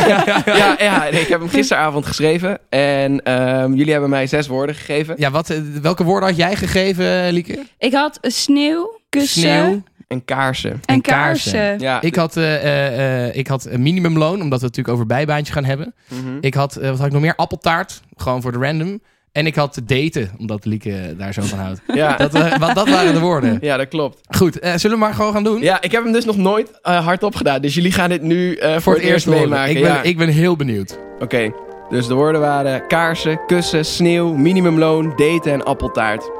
[SPEAKER 2] ja, ja nee, ik heb hem gisteravond geschreven. En ehm, jullie hebben mij zes woorden gegeven.
[SPEAKER 1] Ja, wat, eh, welke woorden had jij gegeven, eh, Lieke?
[SPEAKER 3] Ik had sneeuw, kussen
[SPEAKER 1] Sneeuw.
[SPEAKER 2] En kaarsen.
[SPEAKER 3] en
[SPEAKER 1] en kaarsen.
[SPEAKER 3] kaarsen.
[SPEAKER 2] Ja,
[SPEAKER 1] Ik had, eh, eh, eh, ik had een minimumloon, omdat we het natuurlijk over bijbaantje gaan hebben.
[SPEAKER 2] Mhm.
[SPEAKER 1] Ik had, eh, wat had ik nog meer? Appeltaart, gewoon voor de random. En ik had daten, omdat Lieke daar zo van houdt.
[SPEAKER 2] ja,
[SPEAKER 1] Dat, eh, wat, dat waren de woorden.
[SPEAKER 2] ja, dat klopt.
[SPEAKER 1] Goed, eh, zullen we maar gewoon gaan doen?
[SPEAKER 2] Ja, ik heb hem dus nog nooit eh, hardop gedaan. Dus jullie gaan dit nu eh, voor,
[SPEAKER 1] voor het eerst
[SPEAKER 2] meemaken.
[SPEAKER 1] horen. Ik ben,
[SPEAKER 2] ja.
[SPEAKER 1] ik ben heel benieuwd.
[SPEAKER 2] Oké, dus de woorden waren kaarsen, kussen, sneeuw, minimumloon, daten en appeltaart.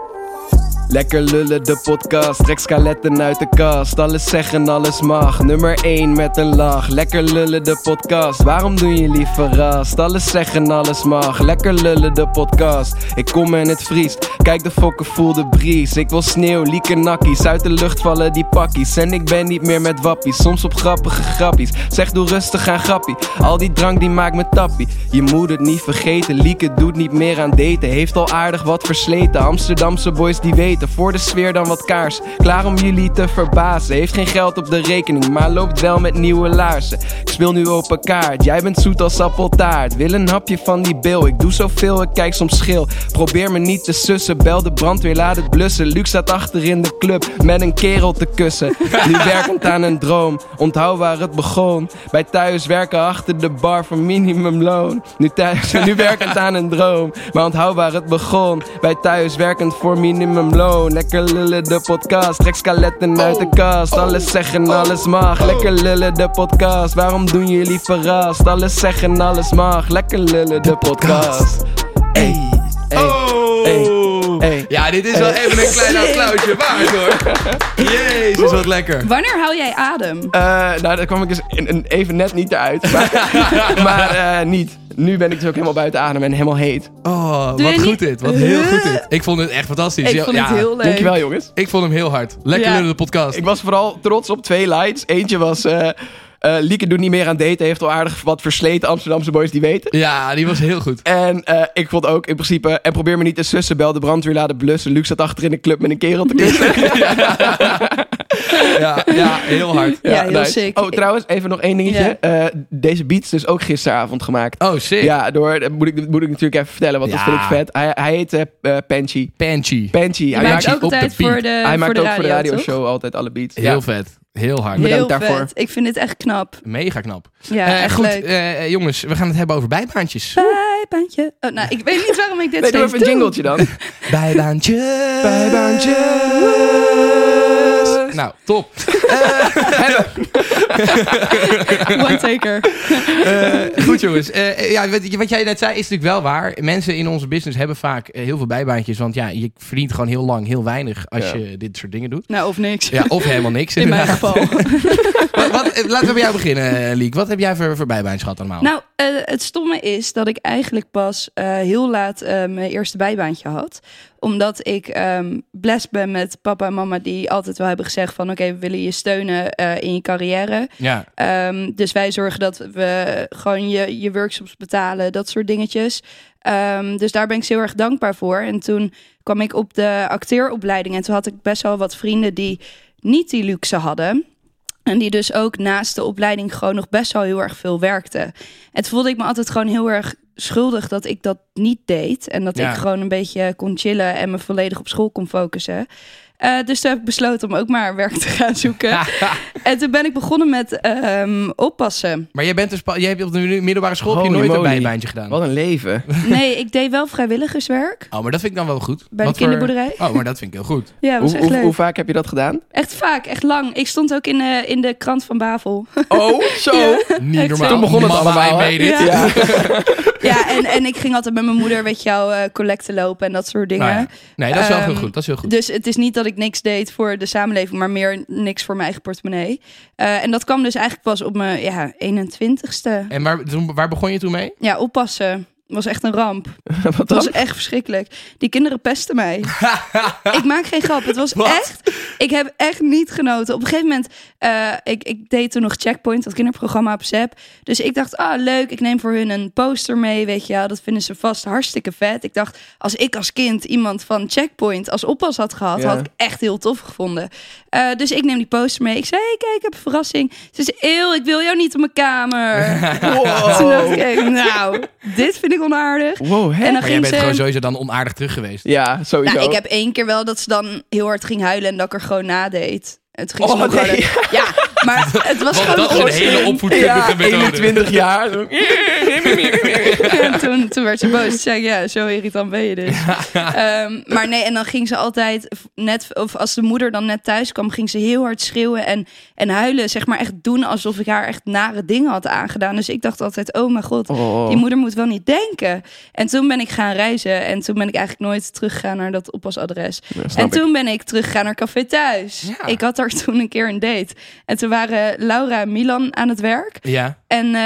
[SPEAKER 2] Lekker lullen de podcast, trek skeletten uit de kast. Alles zeggen, alles mag. Nummer 1 met een lach. Lekker lullen de podcast, waarom doen jullie verrast? Alles zeggen, alles mag. Lekker lullen de podcast, ik kom en het vriest. Kijk de fokken, voel de bries. Ik wil sneeuw, lieke nakkies. Uit de lucht vallen die pakkies. En ik ben niet meer met wappies, soms op grappige grappies. Zeg doe rustig aan grappie, al die drank die maakt me tappie. Je moet het niet vergeten, lieke doet niet meer aan daten. Heeft al aardig wat versleten, Amsterdamse boys die weten. Voor de sfeer dan wat kaars, klaar om jullie te verbazen. Heeft geen geld op de rekening, maar loopt wel met nieuwe laarzen. Ik speel nu open kaart, jij bent zoet als appeltaart. Wil een hapje van die bil, ik doe zoveel, ik kijk soms schil. Probeer me niet te sussen, bel de brandweer, laat het blussen. Luc staat achter in de club, met een kerel te kussen. Nu werkend aan een droom, onthoud waar het begon. Bij thuis werken achter de bar voor minimumloon. Nu, thuis, nu werkend aan een droom, maar onthoud waar het begon. Bij thuis werkend voor minimumloon. Lekker lullen de podcast, trek skeletten uit de kast. Alles zeggen, alles mag. Lekker lullen de podcast, waarom doen jullie verrast? Alles zeggen, alles mag. Lekker lullen de podcast. Ey, ey,
[SPEAKER 3] Oh!
[SPEAKER 2] ey.
[SPEAKER 1] Ja, dit is wel even een klein applausje waard hoor. Jezus, wat lekker.
[SPEAKER 3] Wanneer haal jij adem?
[SPEAKER 2] Eh, nou, daar kwam ik dus in- in- even net niet eruit. Maar, maar eh, niet. Nu ben ik dus ook helemaal buiten adem en helemaal heet.
[SPEAKER 1] Oh,
[SPEAKER 3] Doe
[SPEAKER 1] wat
[SPEAKER 3] je
[SPEAKER 1] goed
[SPEAKER 3] niet-
[SPEAKER 1] dit. Wat heel goed dit. Ik vond het echt fantastisch.
[SPEAKER 3] ik
[SPEAKER 1] Ja,
[SPEAKER 3] vond het
[SPEAKER 1] ja,
[SPEAKER 3] heel leuk.
[SPEAKER 2] Dankjewel, jongens.
[SPEAKER 1] Ik vond hem heel hard. Lekker
[SPEAKER 3] Ja.
[SPEAKER 1] lullen de podcast.
[SPEAKER 2] Ik was vooral trots op twee lines. Eentje was... eh eh, Lieke doet niet meer aan daten. Heeft al aardig wat versleten Amsterdamse boys die weten.
[SPEAKER 1] Ja, die was heel goed.
[SPEAKER 2] En eh, ik vond ook in principe... En probeer me niet te sussen. Bel de brandweer, laat het blussen. Luc zat achter in de club met een kerel te kussen.
[SPEAKER 1] Ja, ja heel hard.
[SPEAKER 3] Ja, heel sick.
[SPEAKER 2] Oh, trouwens, even nog één dingetje. Eh, deze beats dus ook gisteravond gemaakt.
[SPEAKER 1] Oh, sick.
[SPEAKER 2] Ja, door, dat moet, ik, dat moet ik natuurlijk even vertellen, want
[SPEAKER 1] Ja.
[SPEAKER 2] dat vind ik vet. Hij, hij heet eh eh, Panchi.
[SPEAKER 1] Panchi.
[SPEAKER 2] Panchi.
[SPEAKER 3] Je
[SPEAKER 2] hij maakt,
[SPEAKER 3] maakt
[SPEAKER 1] op
[SPEAKER 3] ook
[SPEAKER 1] de
[SPEAKER 3] altijd
[SPEAKER 1] beat.
[SPEAKER 3] voor de,
[SPEAKER 2] hij
[SPEAKER 3] voor,
[SPEAKER 2] maakt
[SPEAKER 3] de
[SPEAKER 2] ook
[SPEAKER 3] radio,
[SPEAKER 2] voor de
[SPEAKER 3] toch?
[SPEAKER 2] radioshow altijd alle beats.
[SPEAKER 1] Heel
[SPEAKER 2] Ja.
[SPEAKER 1] vet. Heel hard.
[SPEAKER 2] Bedankt
[SPEAKER 3] Heel
[SPEAKER 2] daarvoor.
[SPEAKER 3] vet. Ik vind dit echt knap.
[SPEAKER 1] Mega knap.
[SPEAKER 3] Ja,
[SPEAKER 1] Eh,
[SPEAKER 3] echt
[SPEAKER 1] goed,
[SPEAKER 3] leuk.
[SPEAKER 1] eh, jongens, we gaan het hebben over bijbaantjes.
[SPEAKER 3] Bijbaantje. Oh, nou, ik weet niet waarom ik dit
[SPEAKER 2] Nee, doe
[SPEAKER 3] steeds
[SPEAKER 2] even een jingletje dan.
[SPEAKER 1] Bijbaantjes. Nou, top. Eh,
[SPEAKER 3] doe. One taker.
[SPEAKER 1] Eh, goed jongens. Eh, ja, wat, wat jij net zei is natuurlijk wel waar. Mensen in onze business hebben vaak eh, heel veel bijbaantjes. Want ja, je verdient gewoon heel lang heel weinig als
[SPEAKER 2] Ja.
[SPEAKER 1] je dit soort dingen doet.
[SPEAKER 3] Nou, of niks.
[SPEAKER 1] Ja, of helemaal niks.
[SPEAKER 3] In mijn
[SPEAKER 1] inderdaad.
[SPEAKER 3] geval.
[SPEAKER 1] Wat, wat- eh, laten we bij jou beginnen, eh, Liek. Wat heb jij voor, voor bijbaantjes gehad allemaal?
[SPEAKER 3] Nou, eh, het stomme is dat ik eigenlijk pas eh, heel laat eh, mijn eerste bijbaantje had. Omdat ik ehm blessed ben met papa en mama die altijd wel hebben gezegd van... oké, we willen je steunen eh, in je carrière.
[SPEAKER 1] ja.
[SPEAKER 3] Ehm, dus wij zorgen dat we gewoon je, je workshops betalen, dat soort dingetjes. Ehm, dus daar ben ik ze heel erg dankbaar voor. En toen kwam ik op de acteeropleiding en toen had ik best wel wat vrienden die niet die luxe hadden. En die dus ook naast de opleiding gewoon nog best wel heel erg veel werkten. En toen voelde ik me altijd gewoon heel erg schuldig dat ik dat niet deed. En dat
[SPEAKER 1] Ja.
[SPEAKER 3] ik gewoon een beetje kon chillen en me volledig op school kon focussen. Eh, dus toen heb ik besloten om ook maar werk te gaan zoeken. En toen ben ik begonnen met ehm, oppassen.
[SPEAKER 1] Maar jij bent dus, pa- jij hebt op de mi- middelbare school heb je
[SPEAKER 2] Holy
[SPEAKER 1] nooit een
[SPEAKER 2] moly.
[SPEAKER 1] bijbaantje gedaan.
[SPEAKER 2] Wat een leven.
[SPEAKER 3] Nee, ik deed wel vrijwilligerswerk
[SPEAKER 1] Oh, maar dat vind ik dan wel goed.
[SPEAKER 3] bij
[SPEAKER 1] Wat
[SPEAKER 3] de kinderboerderij.
[SPEAKER 1] Voor... Oh, maar dat vind ik heel goed.
[SPEAKER 3] Ja, was
[SPEAKER 2] Hoe,
[SPEAKER 3] echt
[SPEAKER 2] hoe,
[SPEAKER 3] leuk.
[SPEAKER 2] hoe vaak heb je dat gedaan?
[SPEAKER 3] Echt vaak, echt lang. Ik stond ook in, eh, in de krant van Bavel.
[SPEAKER 2] Oh, zo.
[SPEAKER 1] Niet
[SPEAKER 3] Echt
[SPEAKER 1] normaal.
[SPEAKER 3] zo.
[SPEAKER 2] Toen begon het
[SPEAKER 1] Mama,
[SPEAKER 2] allemaal,
[SPEAKER 1] I
[SPEAKER 2] hè?
[SPEAKER 1] made it.
[SPEAKER 3] Ja. ja, en, en ik ging altijd met mijn moeder, weet je wel, eh, collecten lopen en dat soort dingen.
[SPEAKER 1] Nou ja. Nee, dat is wel heel
[SPEAKER 3] Ehm,
[SPEAKER 1] goed. Dat is heel goed.
[SPEAKER 3] Dus het is niet dat ik niks deed voor de samenleving, maar meer niks voor mijn eigen portemonnee. Eh, en dat kwam dus eigenlijk pas op mijn ja, 21ste.
[SPEAKER 1] En waar, toen- waar begon je toen mee?
[SPEAKER 3] Ja, oppassen. was echt een ramp.
[SPEAKER 2] Wat
[SPEAKER 3] Het was
[SPEAKER 2] dan?
[SPEAKER 3] echt verschrikkelijk. Die kinderen pesten mij. ik maak geen grap. Het was
[SPEAKER 1] Wat?
[SPEAKER 3] echt. Ik heb echt niet genoten. Op een gegeven moment, eh, ik, ik deed toen nog Checkpoint, dat kinderprogramma op Zep. Dus ik dacht, ah leuk, ik neem voor hun een poster mee, weet je wel. Dat vinden ze vast hartstikke vet. Ik dacht, als ik als kind iemand van Checkpoint als oppas had gehad,
[SPEAKER 2] Ja.
[SPEAKER 3] had ik echt heel tof gevonden. Eh, dus ik neem die poster mee. Ik zei, hey, kijk, ik heb een verrassing. Ze zei, eeuw, ik wil jou niet op mijn kamer. Toen dacht ik, echt, nou, dit vind ik onaardig.
[SPEAKER 2] Wow, hè?
[SPEAKER 3] En dan
[SPEAKER 1] Maar jij
[SPEAKER 3] ging
[SPEAKER 1] bent
[SPEAKER 3] ze...
[SPEAKER 1] gewoon sowieso dan onaardig terug geweest.
[SPEAKER 2] Ja, sowieso.
[SPEAKER 3] Nou, ik heb één keer wel dat ze dan heel hard ging huilen en dat ik er gewoon nadeed. En toen ging ze
[SPEAKER 2] Oh,
[SPEAKER 3] me ook
[SPEAKER 2] nee.
[SPEAKER 3] harder- Ja, maar het
[SPEAKER 1] Want
[SPEAKER 3] was gewoon
[SPEAKER 1] dat is een
[SPEAKER 3] onzin.
[SPEAKER 1] hele opvoedkundige
[SPEAKER 2] ja,
[SPEAKER 1] methode.
[SPEAKER 2] 21 jaar.
[SPEAKER 3] Oh, En toen, toen werd ze boos. Toen zei ik, ja, zo irritant ben je dus. Ehm, maar nee, en dan ging ze altijd, v- net, of als de moeder dan net thuis kwam, ging ze heel hard schreeuwen en, en huilen. Zeg maar echt doen alsof ik haar echt nare dingen had aangedaan. Dus ik dacht altijd, oh mijn god,
[SPEAKER 2] Oh.
[SPEAKER 3] die moeder moet wel niet denken. En toen ben ik gaan reizen en toen ben ik eigenlijk nooit teruggegaan naar dat oppasadres.
[SPEAKER 2] snap
[SPEAKER 3] en
[SPEAKER 2] ik.
[SPEAKER 3] toen ben ik teruggegaan naar Café Thuis.
[SPEAKER 1] Ja.
[SPEAKER 3] Ik had daar toen een keer een date. En toen waren Laura en Milan aan het werk.
[SPEAKER 1] Ja.
[SPEAKER 3] En eh,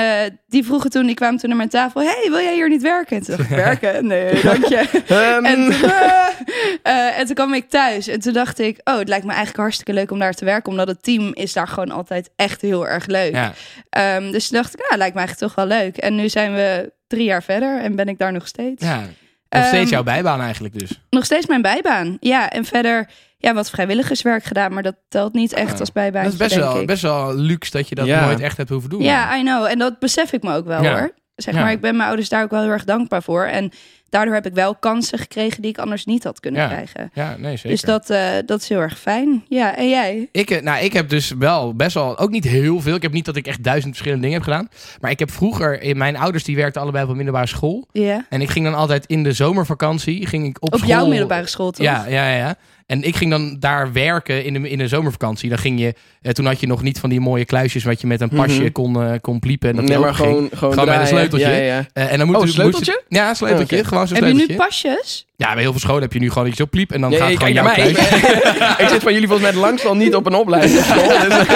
[SPEAKER 3] die vroegen toen, die kwamen toen naar mijn tafel. hey, wil jij hier niet werken? En toen dacht ik, werken? Nee, dank je.
[SPEAKER 2] Ehm,
[SPEAKER 3] en, toen, eh, eh, en toen kwam ik thuis en toen dacht ik... oh, het lijkt me eigenlijk hartstikke leuk om daar te werken... omdat het team is daar gewoon altijd echt heel erg leuk.
[SPEAKER 1] ja.
[SPEAKER 3] Ehm, dus toen dacht ik, nou, lijkt me eigenlijk toch wel leuk. En nu zijn we drie jaar verder en ben ik daar nog steeds.
[SPEAKER 1] ja. Nog steeds
[SPEAKER 3] Ehm,
[SPEAKER 1] jouw bijbaan eigenlijk dus.
[SPEAKER 3] Nog steeds mijn bijbaan. Ja, en verder ja, wat vrijwilligerswerk gedaan... maar dat telt niet echt als
[SPEAKER 1] Ah,
[SPEAKER 3] bijbaan.
[SPEAKER 1] Dat is best wel, best wel luxe dat je dat
[SPEAKER 2] Ja.
[SPEAKER 1] nooit echt hebt hoeven doen.
[SPEAKER 3] Ja, I know. En dat besef ik me ook wel
[SPEAKER 1] Ja.
[SPEAKER 3] hoor. Zeg
[SPEAKER 1] Ja.
[SPEAKER 3] maar, ik ben mijn ouders daar ook wel heel erg dankbaar voor. En daardoor heb ik wel kansen gekregen die ik anders niet had kunnen
[SPEAKER 1] Ja,
[SPEAKER 3] krijgen.
[SPEAKER 1] Ja, nee, zeker.
[SPEAKER 3] Dus dat, eh, dat is heel erg fijn. Ja, en jij?
[SPEAKER 1] Ik, eh, nou, ik heb dus wel best wel, ook niet heel veel. Ik heb niet dat ik echt duizend verschillende dingen heb gedaan. Maar ik heb vroeger, in mijn ouders die werkten allebei op een middelbare school.
[SPEAKER 3] Ja.
[SPEAKER 1] En ik ging dan altijd in de zomervakantie, ging ik op,
[SPEAKER 3] Op
[SPEAKER 1] school.
[SPEAKER 3] jouw middelbare school toch?
[SPEAKER 1] Ja, ja, ja, ja. En ik ging dan daar werken in de, in de zomervakantie. Dan ging je, eh, toen had je nog niet van die mooie kluisjes wat je met een pasje
[SPEAKER 2] Mhm.
[SPEAKER 1] kon, eh, kon pliepen. En dat
[SPEAKER 2] nee,
[SPEAKER 1] die
[SPEAKER 2] maar
[SPEAKER 1] openging.
[SPEAKER 2] gewoon, gewoon,
[SPEAKER 1] Gewoon met een
[SPEAKER 2] draaien.
[SPEAKER 1] sleuteltje.
[SPEAKER 2] Ja, ja, ja.
[SPEAKER 1] Eh, en dan moet
[SPEAKER 2] Oh,
[SPEAKER 1] je-
[SPEAKER 2] een sleuteltje?
[SPEAKER 1] moest je- ja, een sleuteltje.
[SPEAKER 2] Oh, oké.
[SPEAKER 1] Gewoon zo'n
[SPEAKER 3] heb je nu
[SPEAKER 1] sleuteltje.
[SPEAKER 3] pasjes?
[SPEAKER 1] ja, bij heel veel scholen heb je nu gewoon dat je zo pliep en dan
[SPEAKER 2] Nee,
[SPEAKER 1] gaat
[SPEAKER 2] je
[SPEAKER 1] gewoon jouw
[SPEAKER 2] kijkt naar
[SPEAKER 1] kluisje.
[SPEAKER 2] mij. ik zit van jullie volgens mij het langst al niet op een opleidingsschool. Dus,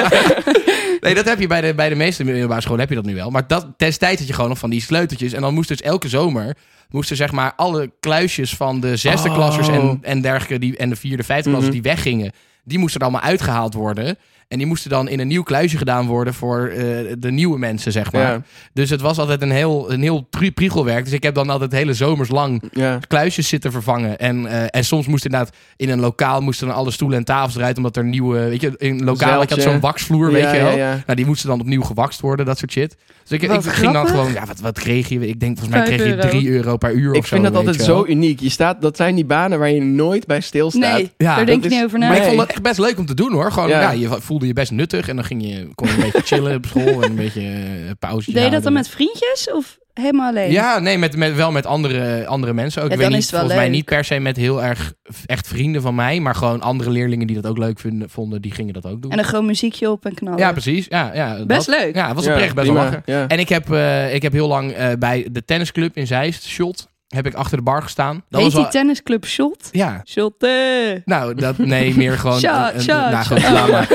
[SPEAKER 1] Nee, dat heb je bij de, bij de meeste middelbare scholen heb je dat nu wel. Maar dat, destijds had je gewoon nog van die sleuteltjes. En dan moest dus elke zomer moesten zeg maar alle kluisjes van de zesde
[SPEAKER 2] Oh.
[SPEAKER 1] klassers en, en dergelijke die, en de vierde, vijfde klassers
[SPEAKER 2] Mhm.
[SPEAKER 1] die weggingen, die moesten er allemaal uitgehaald worden. En die moesten dan in een nieuw kluisje gedaan worden voor eh, de nieuwe mensen, zeg maar.
[SPEAKER 2] ja,
[SPEAKER 1] Dus het was altijd een heel, een heel pri- priegelwerk. Dus ik heb dan altijd hele zomers lang
[SPEAKER 2] ja.
[SPEAKER 1] kluisjes zitten vervangen. En, eh, en soms moest inderdaad in een lokaal moesten dan alle stoelen en tafels eruit. Omdat er nieuwe, weet je, in een lokaal had je
[SPEAKER 2] Zeiltje.
[SPEAKER 1] altijd zo'n waxvloer, weet
[SPEAKER 2] ja,
[SPEAKER 1] je wel.
[SPEAKER 2] ja, ja.
[SPEAKER 1] Nou, die moesten dan opnieuw gewakst worden, dat soort shit. Dus ik, ik
[SPEAKER 3] Wat
[SPEAKER 1] ging dan
[SPEAKER 3] grappig.
[SPEAKER 1] gewoon, ja, wat, wat kreeg je? Ik denk volgens mij
[SPEAKER 3] Vijf
[SPEAKER 1] kreeg je
[SPEAKER 3] euro.
[SPEAKER 1] 3 euro per uur
[SPEAKER 2] Ik
[SPEAKER 1] of zo.
[SPEAKER 2] vind dat
[SPEAKER 1] weet
[SPEAKER 2] altijd
[SPEAKER 1] je wel.
[SPEAKER 2] zo uniek. Je staat, dat zijn die banen waar je nooit bij stilstaat.
[SPEAKER 3] Nee,
[SPEAKER 1] Ja,
[SPEAKER 3] daar
[SPEAKER 1] dat
[SPEAKER 3] denk ik
[SPEAKER 2] is-
[SPEAKER 3] niet over na.
[SPEAKER 1] Maar ik
[SPEAKER 2] Nee.
[SPEAKER 1] vond dat echt best leuk om te doen hoor. Gewoon,
[SPEAKER 2] Ja.
[SPEAKER 1] ja. je voelde je best nuttig en dan ging je, kon je een beetje chillen op school en een beetje eh, pauze.
[SPEAKER 3] Deed je dat dan met vriendjes of helemaal alleen?
[SPEAKER 1] Ja, nee, met, met, wel met andere, andere mensen ook.
[SPEAKER 3] Ja,
[SPEAKER 1] ik weet
[SPEAKER 3] dan
[SPEAKER 1] niet,
[SPEAKER 3] is het wel
[SPEAKER 1] volgens mij
[SPEAKER 3] leuk.
[SPEAKER 1] niet per se met heel erg v- echt vrienden van mij, maar gewoon andere leerlingen die dat ook leuk vinden, vonden, die gingen dat ook doen.
[SPEAKER 3] En een gewoon muziekje op en knallen.
[SPEAKER 1] ja, precies. Ja, ja,
[SPEAKER 3] Best
[SPEAKER 1] dat.
[SPEAKER 3] leuk.
[SPEAKER 1] Ja, het was
[SPEAKER 2] Ja,
[SPEAKER 1] oprecht best wel
[SPEAKER 2] prima.
[SPEAKER 1] lachen.
[SPEAKER 2] Ja.
[SPEAKER 1] En ik heb, eh, ik heb heel lang eh, bij de tennisclub in Zeist, Shot, heb ik achter de bar gestaan. Dat
[SPEAKER 3] Heet
[SPEAKER 1] was wel-
[SPEAKER 3] die tennisclub Shot? eh.
[SPEAKER 1] Ja.
[SPEAKER 3] Shotte!
[SPEAKER 1] Nou, dat, nee, meer gewoon...
[SPEAKER 3] Shot,
[SPEAKER 1] een- een-
[SPEAKER 3] shot,
[SPEAKER 1] nou, gewoon
[SPEAKER 3] shot.
[SPEAKER 1] drama.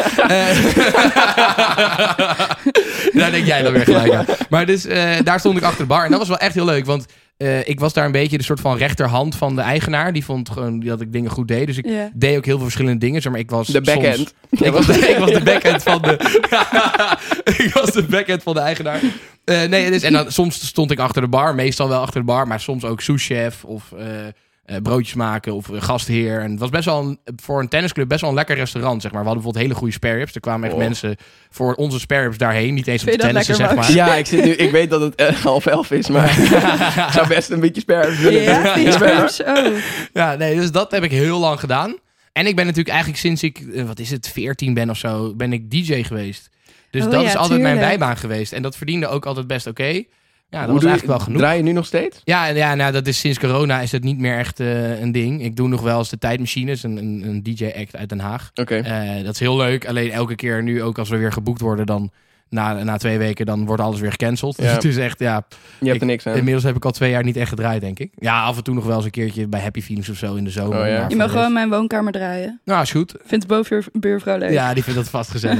[SPEAKER 1] Eh, Daar denk jij dan weer gelijk aan. Maar dus, eh, daar stond ik achter de bar. En dat was wel echt heel leuk, want eh, ik was daar een beetje de soort van rechterhand van de eigenaar. Die vond gewoon dat ik dingen goed deed. Dus ik
[SPEAKER 3] Ja.
[SPEAKER 1] deed ook heel veel verschillende dingen. Zeg maar ik was
[SPEAKER 2] De backend.
[SPEAKER 1] soms- ik, was de, ik was de backend van de. ik was de backend van de eigenaar. Eh, nee, dus, en dan, soms stond ik achter de bar, meestal wel achter de bar, maar soms ook souschef of eh, eh, broodjes maken of eh, gastheer. En het was best wel een, voor een tennisclub best wel een lekker restaurant. Zeg maar. We hadden bijvoorbeeld hele goede spareribs. Er kwamen echt
[SPEAKER 2] Oh.
[SPEAKER 1] mensen voor onze spareribs daarheen. Niet eens om te
[SPEAKER 3] Vind je dat
[SPEAKER 1] tennissen,
[SPEAKER 3] lekker,
[SPEAKER 1] zeg maar.
[SPEAKER 2] Ja, ik, zit nu, ik weet dat het eh, half elf is, maar ik zou best een beetje sperren willen.
[SPEAKER 3] Ja,
[SPEAKER 2] doen.
[SPEAKER 3] Fietsbeurs? Oh.
[SPEAKER 1] Ja, nee, dus dat heb ik heel lang gedaan. En ik ben natuurlijk eigenlijk sinds ik, eh, wat is het, 14 ben of zo, ben ik DJ geweest. Dus
[SPEAKER 3] Oh
[SPEAKER 1] dat
[SPEAKER 3] ja,
[SPEAKER 1] is altijd mijn
[SPEAKER 3] tuurlijk.
[SPEAKER 1] bijbaan geweest. En dat verdiende ook altijd best oké. Ja, dat
[SPEAKER 2] Hoe
[SPEAKER 1] was
[SPEAKER 2] doe je-
[SPEAKER 1] eigenlijk wel genoeg.
[SPEAKER 2] Draai je nu nog steeds?
[SPEAKER 1] Ja, en ja nou, dat is sinds corona is dat niet meer echt eh, een ding. Ik doe nog wel eens de tijdmachines, een, een, een DJ-act uit Den Haag.
[SPEAKER 2] Oké.
[SPEAKER 1] Eh, dat is heel leuk. Alleen elke keer nu, ook als we weer geboekt worden, dan na, na twee weken, dan wordt alles weer gecanceld. Dus
[SPEAKER 2] Ja.
[SPEAKER 1] het is echt, ja,
[SPEAKER 2] Je hebt
[SPEAKER 1] ik-
[SPEAKER 2] er niks aan.
[SPEAKER 1] Inmiddels heb ik al twee jaar niet echt gedraaid, denk ik. Ja, af en toe nog wel eens een keertje bij Happy Phoenix of zo in de zomer.
[SPEAKER 2] Oh, ja.
[SPEAKER 1] Maar
[SPEAKER 3] Je
[SPEAKER 1] voor
[SPEAKER 3] mag
[SPEAKER 1] de rest-
[SPEAKER 3] gewoon mijn woonkamer draaien.
[SPEAKER 1] Nou, is goed.
[SPEAKER 3] Vindt de bovenbuurvrouw leuk?
[SPEAKER 1] Ja, die vindt dat vast gezellig.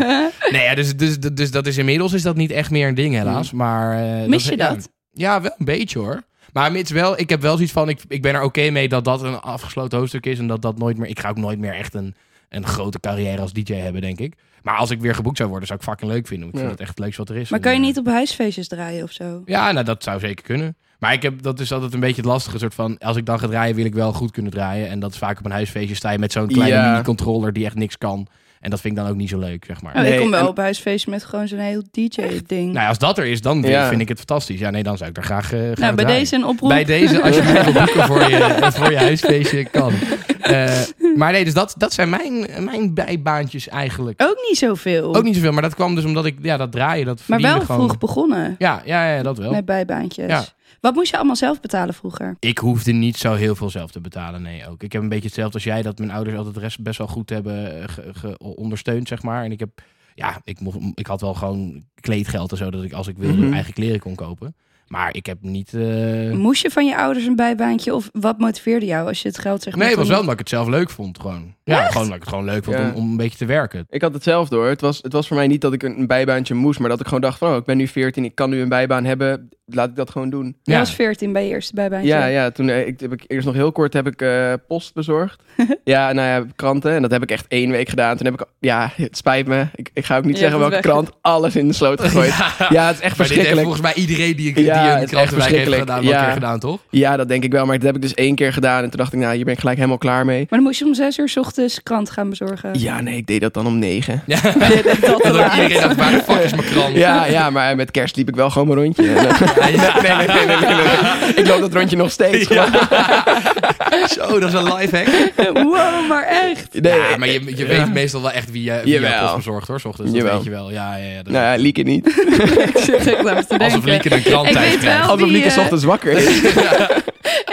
[SPEAKER 1] nee, ja, dus, dus,
[SPEAKER 2] Hmm.
[SPEAKER 1] dus dat is inmiddels is dat niet echt meer een ding, helaas. Maar, eh,
[SPEAKER 3] Mis je
[SPEAKER 1] ja.
[SPEAKER 3] dat?
[SPEAKER 1] Ja, wel een beetje hoor. Maar mits wel, ik heb wel zoiets van, ik, ik ben er oké mee dat dat een afgesloten hoofdstuk is. En dat dat nooit meer, ik ga ook nooit meer echt een, een grote carrière als DJ hebben, denk ik. Maar als ik weer geboekt zou worden, zou ik fucking leuk vinden. want Ik
[SPEAKER 2] Ja.
[SPEAKER 1] vind het echt het leukste wat er is.
[SPEAKER 3] Maar kan je
[SPEAKER 1] En, eh,
[SPEAKER 3] niet op huisfeestjes draaien of zo? Oh,
[SPEAKER 1] Ja, nou dat zou zeker kunnen. Maar ik heb, dat is altijd een beetje het lastige soort van, als ik dan ga draaien, wil ik wel goed kunnen draaien. En dat is vaak op een huisfeestje sta je met zo'n kleine
[SPEAKER 2] Ja.
[SPEAKER 1] mini-controller die echt niks kan. En dat vind ik dan ook niet zo leuk, zeg maar.
[SPEAKER 3] Oh,
[SPEAKER 2] Nee,
[SPEAKER 3] ik kom wel
[SPEAKER 2] en-
[SPEAKER 3] op huisfeestjes met gewoon zo'n heel DJ-ding.
[SPEAKER 1] Nou, ja, als dat er is, dan
[SPEAKER 2] Ja.
[SPEAKER 1] vind ik het fantastisch. Ja, nee, dan zou ik daar graag, eh, graag
[SPEAKER 3] nou, bij
[SPEAKER 1] draaien.
[SPEAKER 3] deze een oproep.
[SPEAKER 1] Bij deze, als je mij wil boeken voor je, eh, voor je huisfeestje, kan. Eh, maar nee, dus dat, dat zijn mijn, mijn bijbaantjes eigenlijk.
[SPEAKER 3] Ook niet zoveel.
[SPEAKER 1] Ook niet zoveel, maar dat kwam dus omdat ik ja, dat draaien, dat
[SPEAKER 3] maar
[SPEAKER 1] verdienen
[SPEAKER 3] wel
[SPEAKER 1] gewoon.
[SPEAKER 3] vroeg begonnen
[SPEAKER 1] Ja, ja, ja, dat wel.
[SPEAKER 3] met bijbaantjes.
[SPEAKER 1] Ja.
[SPEAKER 3] Wat moest je allemaal zelf betalen vroeger?
[SPEAKER 1] Ik hoefde niet zo heel veel zelf te betalen, nee ook. Ik heb een beetje hetzelfde als jij, dat mijn ouders altijd de rest best wel goed hebben eh, ge- ge- ondersteund, zeg maar. En ik heb, ja, ik, mocht, ik had wel gewoon kleedgeld en zo, dat ik als ik wilde
[SPEAKER 2] Mhm.
[SPEAKER 1] eigen kleren kon kopen. Maar ik heb niet... eh,
[SPEAKER 3] Moest je van je ouders een bijbaantje of wat motiveerde jou als je het geld zeg maar
[SPEAKER 1] Nee, het was
[SPEAKER 3] toen-
[SPEAKER 1] wel omdat ik het zelf leuk vond, gewoon. Ja, gewoon omdat ik het gewoon leuk vond
[SPEAKER 2] Ja.
[SPEAKER 1] om, om een beetje te werken.
[SPEAKER 2] Ik had hetzelfde hoor. Het was, het was voor mij niet dat ik een een bijbaantje moest, maar dat ik gewoon dacht van, oh, ik ben nu 14, ik kan nu een bijbaan hebben, laat ik dat gewoon doen.
[SPEAKER 3] Je
[SPEAKER 1] Ja.
[SPEAKER 3] was 14 bij je eerste bijbaantje.
[SPEAKER 2] Ja, ja, toen eh, ik, heb ik eerst nog heel kort heb ik eh, post bezorgd. ja, nou ja, kranten. En dat heb ik echt één week gedaan. Toen heb ik, ja, het spijt me. Ik, ik ga ook niet
[SPEAKER 3] Je
[SPEAKER 2] zeggen
[SPEAKER 3] hebt
[SPEAKER 2] welke
[SPEAKER 3] het weg.
[SPEAKER 2] krant. Alles in de sloot gegooid. ja. het is echt
[SPEAKER 1] Maar dit heeft
[SPEAKER 2] verschrikkelijk.
[SPEAKER 1] volgens mij iedereen die, die
[SPEAKER 2] Ja, het
[SPEAKER 1] een
[SPEAKER 2] is
[SPEAKER 1] klas
[SPEAKER 2] echt
[SPEAKER 1] bij heeft
[SPEAKER 2] verschrikkelijk.
[SPEAKER 1] gedaan, wel een
[SPEAKER 2] Ja.
[SPEAKER 1] keer gedaan, toch?
[SPEAKER 2] Ja, dat denk ik wel. Maar dat heb ik dus één keer gedaan. En toen dacht ik, nou, hier ben ik gelijk helemaal klaar mee.
[SPEAKER 3] Maar dan moest je om 6 uur 's ochtends krant gaan bezorgen.
[SPEAKER 2] Ja, nee, ik deed dat dan om negen.
[SPEAKER 1] Ja.
[SPEAKER 3] dat
[SPEAKER 1] Dat ook
[SPEAKER 3] waar.
[SPEAKER 1] iedereen dacht, waar de fuck is mijn krant?
[SPEAKER 2] Ja, ja, maar met kerst liep ik wel gewoon mijn rondje. En, eh,
[SPEAKER 1] Ja, ja.
[SPEAKER 2] nee, nee, nee, nee, nee, nee. Ik loop dat rondje nog steeds.
[SPEAKER 1] Ja.
[SPEAKER 2] gewoon.
[SPEAKER 1] Zo, dat is een lifehack.
[SPEAKER 3] wow, maar echt.
[SPEAKER 2] Nee,
[SPEAKER 1] ja, maar je, je
[SPEAKER 2] ja.
[SPEAKER 1] weet meestal wel echt wie je wie
[SPEAKER 2] Jawel.
[SPEAKER 1] je post bezorgt, hoor, 's ochtends. Dat
[SPEAKER 2] Jawel.
[SPEAKER 1] weet je wel. Ja, ja, ja. dat-
[SPEAKER 2] Nou ja, Lieke niet.
[SPEAKER 3] ik zit echt aan
[SPEAKER 1] Alsof
[SPEAKER 3] te denken.
[SPEAKER 1] Lieke een krant
[SPEAKER 3] Ik
[SPEAKER 1] thuis
[SPEAKER 3] weet
[SPEAKER 1] krijgt.
[SPEAKER 3] wel.
[SPEAKER 2] Alsof
[SPEAKER 3] die,
[SPEAKER 2] Lieke
[SPEAKER 3] eh,
[SPEAKER 2] 's ochtends wakker is.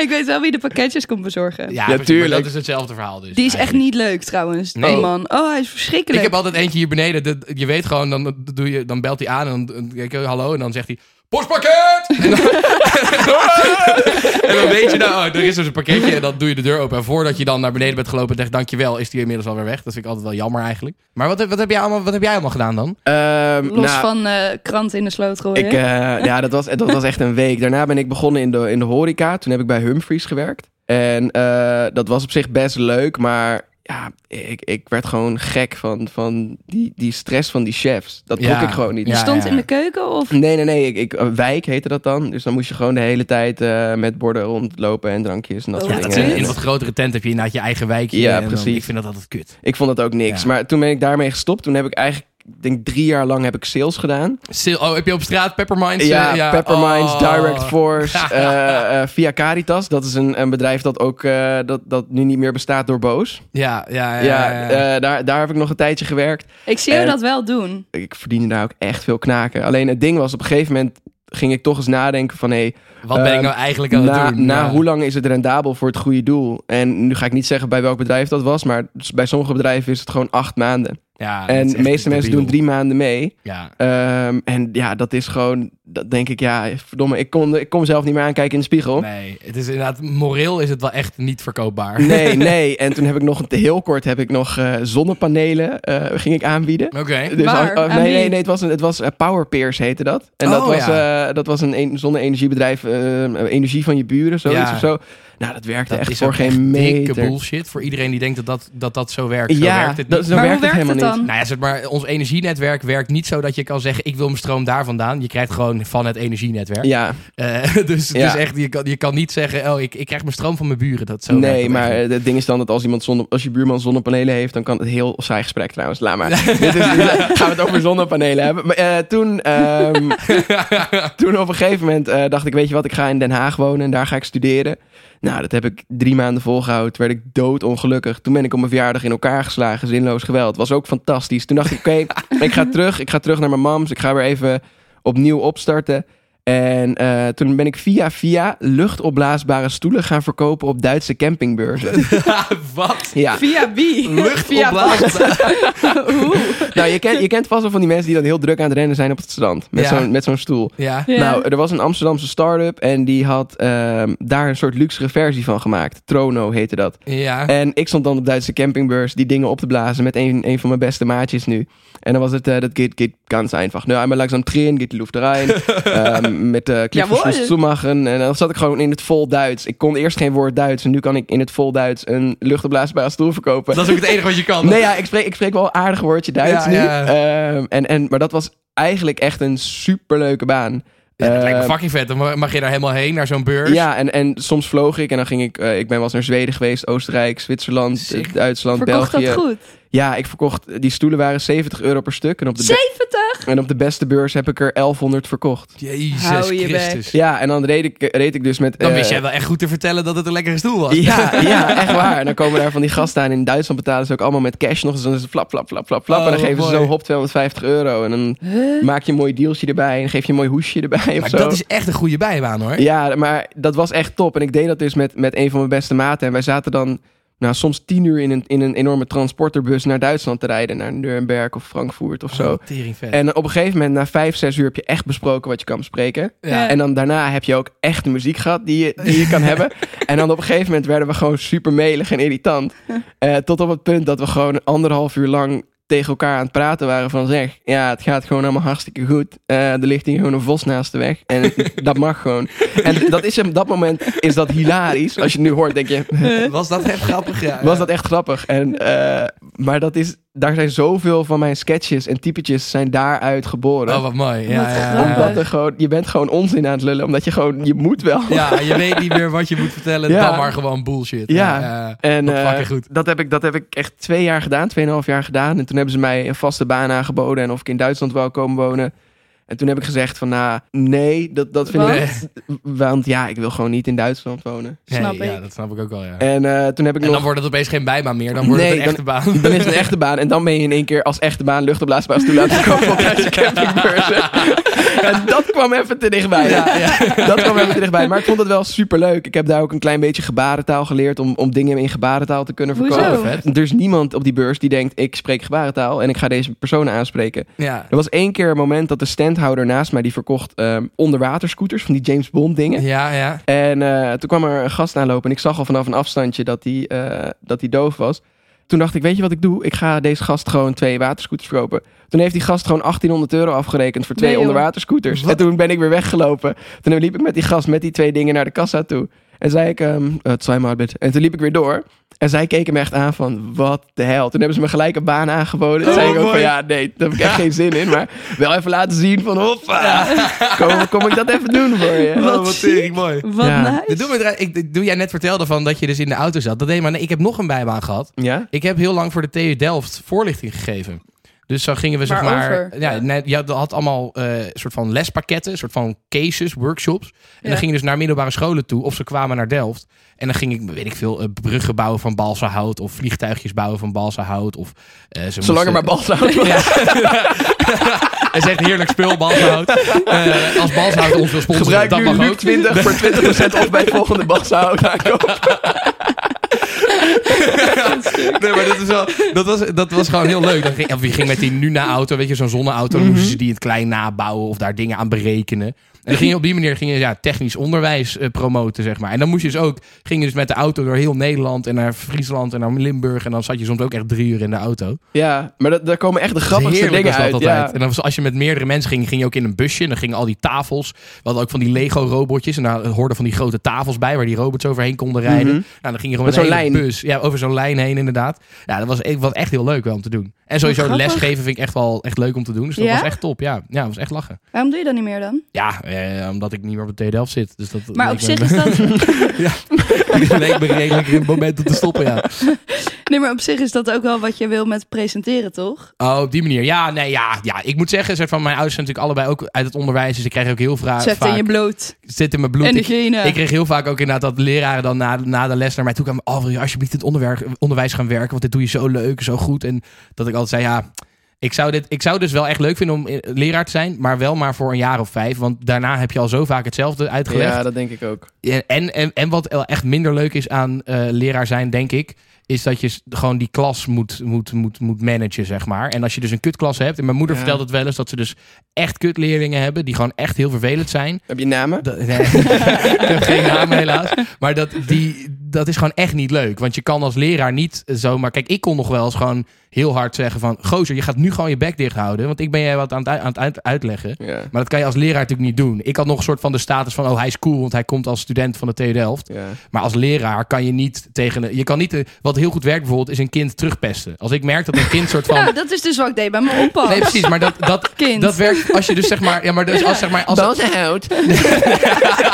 [SPEAKER 3] Ik weet wel wie de pakketjes komt bezorgen.
[SPEAKER 1] Ja, precies, maar
[SPEAKER 2] tuurlijk.
[SPEAKER 1] dat is hetzelfde verhaal dus.
[SPEAKER 3] Die is echt
[SPEAKER 1] eigenlijk.
[SPEAKER 3] niet leuk trouwens.
[SPEAKER 1] Nee.
[SPEAKER 3] Nee. man. Oh, hij is verschrikkelijk.
[SPEAKER 1] Ik heb altijd eentje hier beneden. dat- je weet gewoon, dan, doe je, dan belt hij aan en dan denk ik, hallo. En dan zegt hij, postpakket! En dan, en dan weet je nou, oh, er is dus een pakketje. En dan doe je de deur open. En voordat je dan naar beneden bent gelopen en zegt dankjewel, is die inmiddels alweer weg. Dat vind ik altijd wel jammer eigenlijk. Maar wat, heb- wat, heb, jij allemaal, wat heb jij allemaal gedaan dan?
[SPEAKER 2] Ehm,
[SPEAKER 3] Los
[SPEAKER 2] nou,
[SPEAKER 3] van eh krant in de sloot gooien.
[SPEAKER 2] Ik, eh, ja, dat was, dat was echt een week. Daarna ben ik begonnen in de, in de horeca. Toen heb ik bij Humphries gewerkt. En eh, dat was op zich best leuk, maar ja, ik, ik werd gewoon gek van, van die, die stress van die chefs. Dat trok
[SPEAKER 1] Ja.
[SPEAKER 2] ik gewoon niet.
[SPEAKER 3] je
[SPEAKER 1] Ja,
[SPEAKER 3] stond
[SPEAKER 1] ja.
[SPEAKER 3] in de keuken of...
[SPEAKER 2] Nee, nee, nee. Ik, ik, eh, wijk heette dat dan. Dus dan moest je gewoon de hele tijd eh, met borden rondlopen en drankjes en dat
[SPEAKER 3] Oh,
[SPEAKER 2] soort
[SPEAKER 3] ja,
[SPEAKER 2] dingen.
[SPEAKER 3] dat is-
[SPEAKER 1] eh, in een wat grotere tent heb je inderdaad je eigen wijkje.
[SPEAKER 2] Ja,
[SPEAKER 1] en dan-
[SPEAKER 2] precies.
[SPEAKER 1] ik vind dat altijd kut.
[SPEAKER 2] Ik vond dat ook niks.
[SPEAKER 1] Ja.
[SPEAKER 2] Maar toen ben ik daarmee gestopt. Toen heb ik eigenlijk, ik denk drie jaar lang heb ik sales gedaan.
[SPEAKER 1] Sil- Oh, heb je op straat Pepperminds?
[SPEAKER 2] Ja,
[SPEAKER 1] eh,
[SPEAKER 2] Pepperminds,
[SPEAKER 1] oh.
[SPEAKER 2] Direct Force, eh, eh, Via Caritas. Dat is een, een bedrijf dat ook eh, dat, dat nu niet meer bestaat door Boos.
[SPEAKER 1] Ja, ja, ja.
[SPEAKER 2] Ja,
[SPEAKER 1] ja, ja.
[SPEAKER 2] eh, daar, daar heb ik nog een tijdje gewerkt.
[SPEAKER 3] Ik zie jou
[SPEAKER 2] Eh,
[SPEAKER 3] dat wel doen.
[SPEAKER 2] Ik verdiende daar ook echt veel knaken. Alleen het ding was, op een gegeven moment ging ik toch eens nadenken van... Hey,
[SPEAKER 1] wat ben ik nou eigenlijk aan
[SPEAKER 2] eh, na,
[SPEAKER 1] het doen?
[SPEAKER 2] na
[SPEAKER 1] Ja.
[SPEAKER 2] hoe lang is het rendabel voor het goede doel? En nu ga ik niet zeggen bij welk bedrijf dat was, maar s- bij sommige bedrijven is het gewoon acht maanden.
[SPEAKER 1] Ja, dat
[SPEAKER 2] en
[SPEAKER 1] is
[SPEAKER 2] de
[SPEAKER 1] echt
[SPEAKER 2] meeste mensen
[SPEAKER 1] debiel.
[SPEAKER 2] doen drie maanden mee.
[SPEAKER 1] Ja,
[SPEAKER 2] Ehm, en ja, dat is gewoon, dat denk ik, ja, verdomme, ik kon, ik kon mezelf niet meer aankijken in de spiegel.
[SPEAKER 1] Nee, het is inderdaad, moreel is het wel echt niet verkoopbaar.
[SPEAKER 2] Nee, nee. En toen heb ik nog een- heel kort heb ik nog eh, zonnepanelen eh, ging ik aanbieden.
[SPEAKER 1] Oké.
[SPEAKER 2] Dus
[SPEAKER 3] Waar?
[SPEAKER 2] als- oh,
[SPEAKER 3] Aan
[SPEAKER 2] nee,
[SPEAKER 3] wie?
[SPEAKER 2] nee, nee, het was, een, het was eh, Powerpeers heette dat. En dat
[SPEAKER 1] Oh,
[SPEAKER 2] was, eh, dat was een, een zonne-energiebedrijf, eh, energie van je buren, zoiets
[SPEAKER 1] Ja.
[SPEAKER 2] of zo. Nou, dat werkte
[SPEAKER 1] Dat
[SPEAKER 2] echt
[SPEAKER 1] is
[SPEAKER 2] voor
[SPEAKER 1] ook
[SPEAKER 2] geen
[SPEAKER 1] echt
[SPEAKER 2] meter.
[SPEAKER 1] dikke bullshit voor iedereen die denkt dat dat, dat, dat zo werkt. Zo
[SPEAKER 2] ja,
[SPEAKER 1] werkt het
[SPEAKER 2] dat,
[SPEAKER 1] niet.
[SPEAKER 2] zo
[SPEAKER 3] Maar
[SPEAKER 2] werkt
[SPEAKER 3] hoe
[SPEAKER 2] het
[SPEAKER 3] werkt
[SPEAKER 2] helemaal
[SPEAKER 3] het
[SPEAKER 2] niet.
[SPEAKER 3] dan?
[SPEAKER 1] Nou ja, zeg maar, ons energienetwerk werkt niet zo dat je kan zeggen... ik wil mijn stroom daar vandaan. Je krijgt gewoon van het energienetwerk.
[SPEAKER 2] Ja,
[SPEAKER 1] Eh, dus het
[SPEAKER 2] Ja.
[SPEAKER 1] is echt, je kan, je kan niet zeggen... oh, ik, ik krijg mijn stroom van mijn buren. Dat, zo werkt
[SPEAKER 2] nee,
[SPEAKER 1] het
[SPEAKER 2] maar
[SPEAKER 1] echt niet.
[SPEAKER 2] eh, het ding is dan dat als, iemand zonne, als je buurman zonnepanelen heeft, dan kan het heel saai gesprek trouwens. Laat maar. Dit is, gaan we het over zonnepanelen hebben. Maar, eh, toen, ehm, toen op een gegeven moment eh, dacht ik, weet je wat, ik ga in Den Haag wonen en daar ga ik studeren. Nou, dat heb ik drie maanden volgehouden. Toen werd ik doodongelukkig. Toen ben ik op mijn verjaardag in elkaar geslagen. Zinloos geweld. Was ook fantastisch. Toen dacht ik, oké, ik ga terug. Ik ga terug naar mijn mams. Ik ga weer even opnieuw opstarten. En eh, toen ben ik via via luchtopblaasbare stoelen gaan verkopen op Duitse campingbeurzen.
[SPEAKER 1] Wat?
[SPEAKER 2] ja.
[SPEAKER 3] Via wie?
[SPEAKER 1] Luchtopblazen.
[SPEAKER 2] Nou, je kent, je kent vast wel van die mensen die dan heel druk aan het rennen zijn op het strand. Met
[SPEAKER 1] Ja.
[SPEAKER 2] zo'n met zo'n stoel.
[SPEAKER 1] Ja.
[SPEAKER 3] Ja.
[SPEAKER 2] Nou, er was een Amsterdamse start-up en die had ehm, daar een soort luxere versie van gemaakt. Trono heette dat.
[SPEAKER 1] Ja.
[SPEAKER 2] En ik stond dan op Duitse campingbeurs die dingen op te blazen met een, een van mijn beste maatjes nu. En dan was het, eh, dat geht, geht ganz einfach. Nou, einmal langsam drehen, geht die Luft rein. Ehm, met de clip van
[SPEAKER 3] Jawohl.
[SPEAKER 2] Sjoerd Schumacher. En dan zat ik gewoon in het vol Duits. Ik kon eerst geen woord Duits. En nu kan ik in het vol Duits een luchtopblaasbare stoel verkopen.
[SPEAKER 1] Dat is ook het enige wat je kan.
[SPEAKER 2] Nee, ja, ik spreek, ik spreek wel een aardig woordje Duits
[SPEAKER 1] Ja,
[SPEAKER 2] nu.
[SPEAKER 1] ja.
[SPEAKER 2] Ehm, en, en, maar dat was eigenlijk echt een superleuke baan.
[SPEAKER 1] Ja, dat lijkt me
[SPEAKER 2] Ehm,
[SPEAKER 1] fucking vet. Dan mag- mag je daar helemaal heen, naar zo'n beurs.
[SPEAKER 2] ja, en, en soms vloog ik en dan ging ik... eh, ik ben wel eens naar Zweden geweest, Oostenrijk, Zwitserland,
[SPEAKER 1] Sick.
[SPEAKER 2] eh, Duitsland,
[SPEAKER 3] Verkocht
[SPEAKER 2] België.
[SPEAKER 3] dat goed?
[SPEAKER 2] Ja, ik verkocht... Die stoelen waren 70 euro per stuk. En op de, be-
[SPEAKER 3] 70?
[SPEAKER 2] en op de beste beurs heb ik er 1100 verkocht.
[SPEAKER 1] Jezus
[SPEAKER 3] Hou je
[SPEAKER 1] Christus.
[SPEAKER 2] Ja, en dan reed ik, reed ik dus met...
[SPEAKER 1] Dan
[SPEAKER 2] eh,
[SPEAKER 1] wist jij wel echt goed te vertellen dat het een lekkere stoel was.
[SPEAKER 2] Ja, ja, echt waar. En dan komen daar van die gasten aan. In Duitsland betalen ze ook allemaal met cash nog. Dus dan is het flap, flap, flap, flap, flap.
[SPEAKER 1] Oh,
[SPEAKER 2] en dan geven
[SPEAKER 1] mooi.
[SPEAKER 2] ze zo hop 250 euro. En dan maak je een mooi dealtje erbij. En geef je een mooi hoesje erbij of
[SPEAKER 1] Maar
[SPEAKER 2] zo.
[SPEAKER 1] dat is echt een goede bijbaan hoor.
[SPEAKER 2] Ja, maar dat was echt top. En ik deed dat dus met, met een van mijn beste maten. En wij zaten dan nou, soms tien uur in een, in een enorme transporterbus naar Duitsland te rijden. Naar Nuremberg of Frankfurt of zo.
[SPEAKER 1] Oh, teringvet.
[SPEAKER 2] En op een gegeven moment, na vijf, zes uur, heb je echt besproken wat je kan bespreken.
[SPEAKER 1] Ja.
[SPEAKER 2] En dan daarna heb je ook echt de muziek gehad die je, die je kan hebben. En dan op een gegeven moment werden we gewoon super melig en irritant. Eh, tot op het punt dat we gewoon anderhalf uur lang tegen elkaar aan het praten waren van zeg, ja, het gaat gewoon allemaal hartstikke goed. Eh, er ligt hier gewoon een vos naast de weg. En het- dat mag gewoon. En dat is op dat moment is dat hilarisch. Als je het nu hoort, denk je,
[SPEAKER 3] Eh.
[SPEAKER 1] Was dat echt grappig? Ja.
[SPEAKER 2] was dat echt grappig. En, eh, maar dat is, daar zijn zoveel van mijn sketches en typetjes zijn daaruit geboren.
[SPEAKER 1] Oh, wat mooi. Ja,
[SPEAKER 3] Wat
[SPEAKER 1] ja, ja.
[SPEAKER 3] grappig.
[SPEAKER 2] omdat er gewoon, je bent gewoon onzin aan het lullen, omdat je gewoon, je moet wel.
[SPEAKER 1] Ja, je weet niet meer wat je moet vertellen.
[SPEAKER 2] Ja.
[SPEAKER 1] Dan maar gewoon bullshit.
[SPEAKER 2] Ja. En
[SPEAKER 1] Wat
[SPEAKER 2] eh,
[SPEAKER 1] fucking goed.
[SPEAKER 2] Dat, heb ik, dat heb ik echt twee jaar gedaan, tweeënhalf jaar gedaan. En toen hebben ze mij een vaste baan aangeboden en of ik in Duitsland wou komen wonen. En toen heb ik gezegd van, nou, nee, dat, dat vind ik...
[SPEAKER 1] Nee.
[SPEAKER 2] Want ja, ik wil gewoon niet in Duitsland wonen.
[SPEAKER 3] Snap
[SPEAKER 1] Nee, Ja,
[SPEAKER 3] ik.
[SPEAKER 1] dat snap ik ook wel, ja. En,
[SPEAKER 2] En eh, toen heb ik nog...
[SPEAKER 1] dan wordt het opeens geen bijbaan meer. Dan wordt het
[SPEAKER 2] Nee,
[SPEAKER 1] een echte baan.
[SPEAKER 2] Dan is het een echte baan. En dan ben je in één keer als echte baan luchtopblaasbaar stoel aan het kopen op deze campingbeurzen. en dat kwam even te dichtbij.
[SPEAKER 1] Ja, ja.
[SPEAKER 2] Dat kwam even te dichtbij. Maar ik vond het wel superleuk. Ik heb daar ook een klein beetje gebarentaal geleerd om, om dingen in gebarentaal te kunnen
[SPEAKER 3] Hoezo?
[SPEAKER 2] verkopen.
[SPEAKER 1] Vet.
[SPEAKER 2] Er is niemand op die beurs die denkt, ik spreek gebarentaal en ik ga deze personen aanspreken.
[SPEAKER 1] Ja.
[SPEAKER 2] Er was één keer een moment dat de standhouder naast mij, die verkocht ehm, onderwaterscooters van die James Bond dingen.
[SPEAKER 1] Ja, ja.
[SPEAKER 2] En eh, toen kwam er een gast aanlopen en ik zag al vanaf een afstandje dat hij dat die doof was. Toen dacht ik, weet je wat ik doe? Ik ga deze gast gewoon twee waterscooters verkopen. Toen heeft die gast gewoon 1800 euro afgerekend voor twee
[SPEAKER 3] Nee, joh.
[SPEAKER 2] onderwaterscooters.
[SPEAKER 1] Wat?
[SPEAKER 2] En toen ben ik weer weggelopen. Toen liep ik met die gast met die twee dingen naar de kassa toe. En zei ik, ehm het zijn maar bed. En toen liep ik weer door. En zij keken me echt aan van, wat de hel. Toen hebben ze me gelijk een baan aangeboden. Toen
[SPEAKER 1] Oh,
[SPEAKER 2] zei ik ook
[SPEAKER 1] mooi.
[SPEAKER 2] van, ja, nee, daar heb ik echt geen zin in. Maar wel even laten zien van, hoppa, kom, kom ik dat even doen voor je.
[SPEAKER 3] Wat ziek.
[SPEAKER 1] mooi.
[SPEAKER 3] Wat
[SPEAKER 2] Ja.
[SPEAKER 1] Dit
[SPEAKER 3] nice.
[SPEAKER 1] doet me eraan- ik, dit- doe jij net vertelde van dat je dus in de auto zat. Dat deed maar. Nee, ik heb nog een bijbaan gehad.
[SPEAKER 2] Ja?
[SPEAKER 1] Ik heb heel lang voor de TU Delft voorlichting gegeven. Dus zo gingen we zeg maar.
[SPEAKER 3] Waarover?
[SPEAKER 1] Ja, net, je had- had allemaal eh soort van lespakketten, soort van cases, workshops. En dan
[SPEAKER 3] Ja.
[SPEAKER 1] ging je dus naar middelbare scholen toe, of ze kwamen naar Delft. En dan ging ik, weet ik veel, eh, bruggen bouwen van balsahout, of vliegtuigjes bouwen van balsahout. Of, eh, ze
[SPEAKER 2] Zolang
[SPEAKER 1] moesten-
[SPEAKER 2] er maar balzout
[SPEAKER 1] Ja. Het is echt heerlijk spul, balshout. Eh, als balshout ons wil sponsoren,
[SPEAKER 2] Gebruik
[SPEAKER 1] dat
[SPEAKER 2] nu
[SPEAKER 1] mag
[SPEAKER 2] Luc
[SPEAKER 1] ook.
[SPEAKER 2] 20 voor 20% of bij het volgende balzout aankopen.
[SPEAKER 1] Nee, maar dat, is wel, dat, was, dat was gewoon heel leuk. Dan ging, of je ging met die Nuna-auto, weet je, zo'n zonneauto.
[SPEAKER 2] Mhm.
[SPEAKER 1] Dan moesten ze die in het klein nabouwen of daar dingen aan berekenen. En dan ging je op die manier ging je, ja, technisch onderwijs eh, promoten, zeg maar. En dan moest je dus ook, ging je dus met de auto door heel Nederland en naar Friesland en naar Limburg. En dan zat je soms ook echt drie uur in de auto.
[SPEAKER 2] Ja, maar dat, daar komen echt de grappigste
[SPEAKER 1] Heerlijk
[SPEAKER 2] dingen
[SPEAKER 1] was dat
[SPEAKER 2] uit.
[SPEAKER 1] altijd.
[SPEAKER 2] Ja.
[SPEAKER 1] En dan was, als je met meerdere mensen ging, ging je ook in een busje. En dan gingen al die tafels. We hadden ook van die Lego-robotjes. En daar hoorden van die grote tafels bij, waar die robots overheen konden rijden.
[SPEAKER 2] Mhm.
[SPEAKER 1] Nou, dan ging je gewoon
[SPEAKER 2] Met
[SPEAKER 1] met,
[SPEAKER 2] zo'n
[SPEAKER 1] een hele
[SPEAKER 2] lijn.
[SPEAKER 1] bus. Ja, over zo'n lijn heen inderdaad. Ja, dat was, e- was echt heel leuk wel om te doen. En sowieso
[SPEAKER 3] grappig.
[SPEAKER 1] lesgeven vind ik echt wel echt leuk om te doen. Dus dat
[SPEAKER 3] Ja?
[SPEAKER 1] was echt top. Ja, ja, dat was echt lachen.
[SPEAKER 3] Waarom doe je dat niet meer dan?
[SPEAKER 1] Ja, eh, omdat ik niet meer op de TD Delft zit. Dus dat
[SPEAKER 3] Maar op
[SPEAKER 1] leek
[SPEAKER 3] zich
[SPEAKER 1] me-
[SPEAKER 3] is dat...
[SPEAKER 1] leek me redelijk een moment om te stoppen, ja.
[SPEAKER 3] Nee, maar op zich is dat ook wel wat je wil met presenteren, toch?
[SPEAKER 1] Oh, op die manier. Ja, nee, ja, ja. Ik moet zeggen, soort van, mijn ouders zijn natuurlijk allebei ook uit het onderwijs. Dus ik krijg ook heel vra-
[SPEAKER 3] Zet
[SPEAKER 1] vaak...
[SPEAKER 3] in je bloot.
[SPEAKER 1] zit in mijn bloed.
[SPEAKER 3] en de
[SPEAKER 1] Ik,
[SPEAKER 3] genen.
[SPEAKER 1] ik kreeg heel vaak ook inderdaad dat leraren dan na, na de les naar mij toe kwamen. Oh, wil je alsjeblieft in het onderwerp, onderwijs gaan werken? Want dit doe je zo leuk, zo goed. En dat ik altijd zei, ja, ik zou, dit, ik zou dus wel echt leuk vinden om eh, leraar te zijn. Maar wel maar voor een jaar of vijf. Want daarna heb je al zo vaak hetzelfde uitgelegd.
[SPEAKER 2] Ja, dat denk ik ook.
[SPEAKER 1] En, en, en wat echt minder leuk is aan eh, leraar zijn, denk ik, is dat je s- gewoon die klas moet, moet, moet, moet managen, zeg maar. En als je dus een kutklas hebt, en mijn moeder
[SPEAKER 2] Ja.
[SPEAKER 1] vertelt het wel eens, dat ze dus echt kutleerlingen hebben, die gewoon echt heel vervelend zijn.
[SPEAKER 2] Heb je namen?
[SPEAKER 1] Dat, nee, ik heb geen naam helaas. Maar dat, die, dat is gewoon echt niet leuk. Want je kan als leraar niet zomaar... Kijk, ik kon nog wel eens gewoon heel hard zeggen van... Gozer, je gaat nu gewoon je bek dicht houden. Want ik ben jij wat aan het, uit- aan het uit- uitleggen.
[SPEAKER 2] Ja.
[SPEAKER 1] Maar dat kan je als leraar natuurlijk niet doen. Ik had nog een soort van de status van... Oh, hij is cool, want hij komt als student van de TU Delft.
[SPEAKER 2] ja.
[SPEAKER 1] Maar als leraar kan je niet tegen... een- Je kan niet... eh, Wat heel goed werkt bijvoorbeeld, is een kind terugpesten. Als ik merk dat een kind soort van...
[SPEAKER 3] Nou, dat is dus wat ik deed bij mijn oppas.
[SPEAKER 1] Nee, precies. Maar dat, dat,
[SPEAKER 3] Kind.
[SPEAKER 1] dat werkt als je dus zeg maar... Ja, maar dus als zeg maar... Als,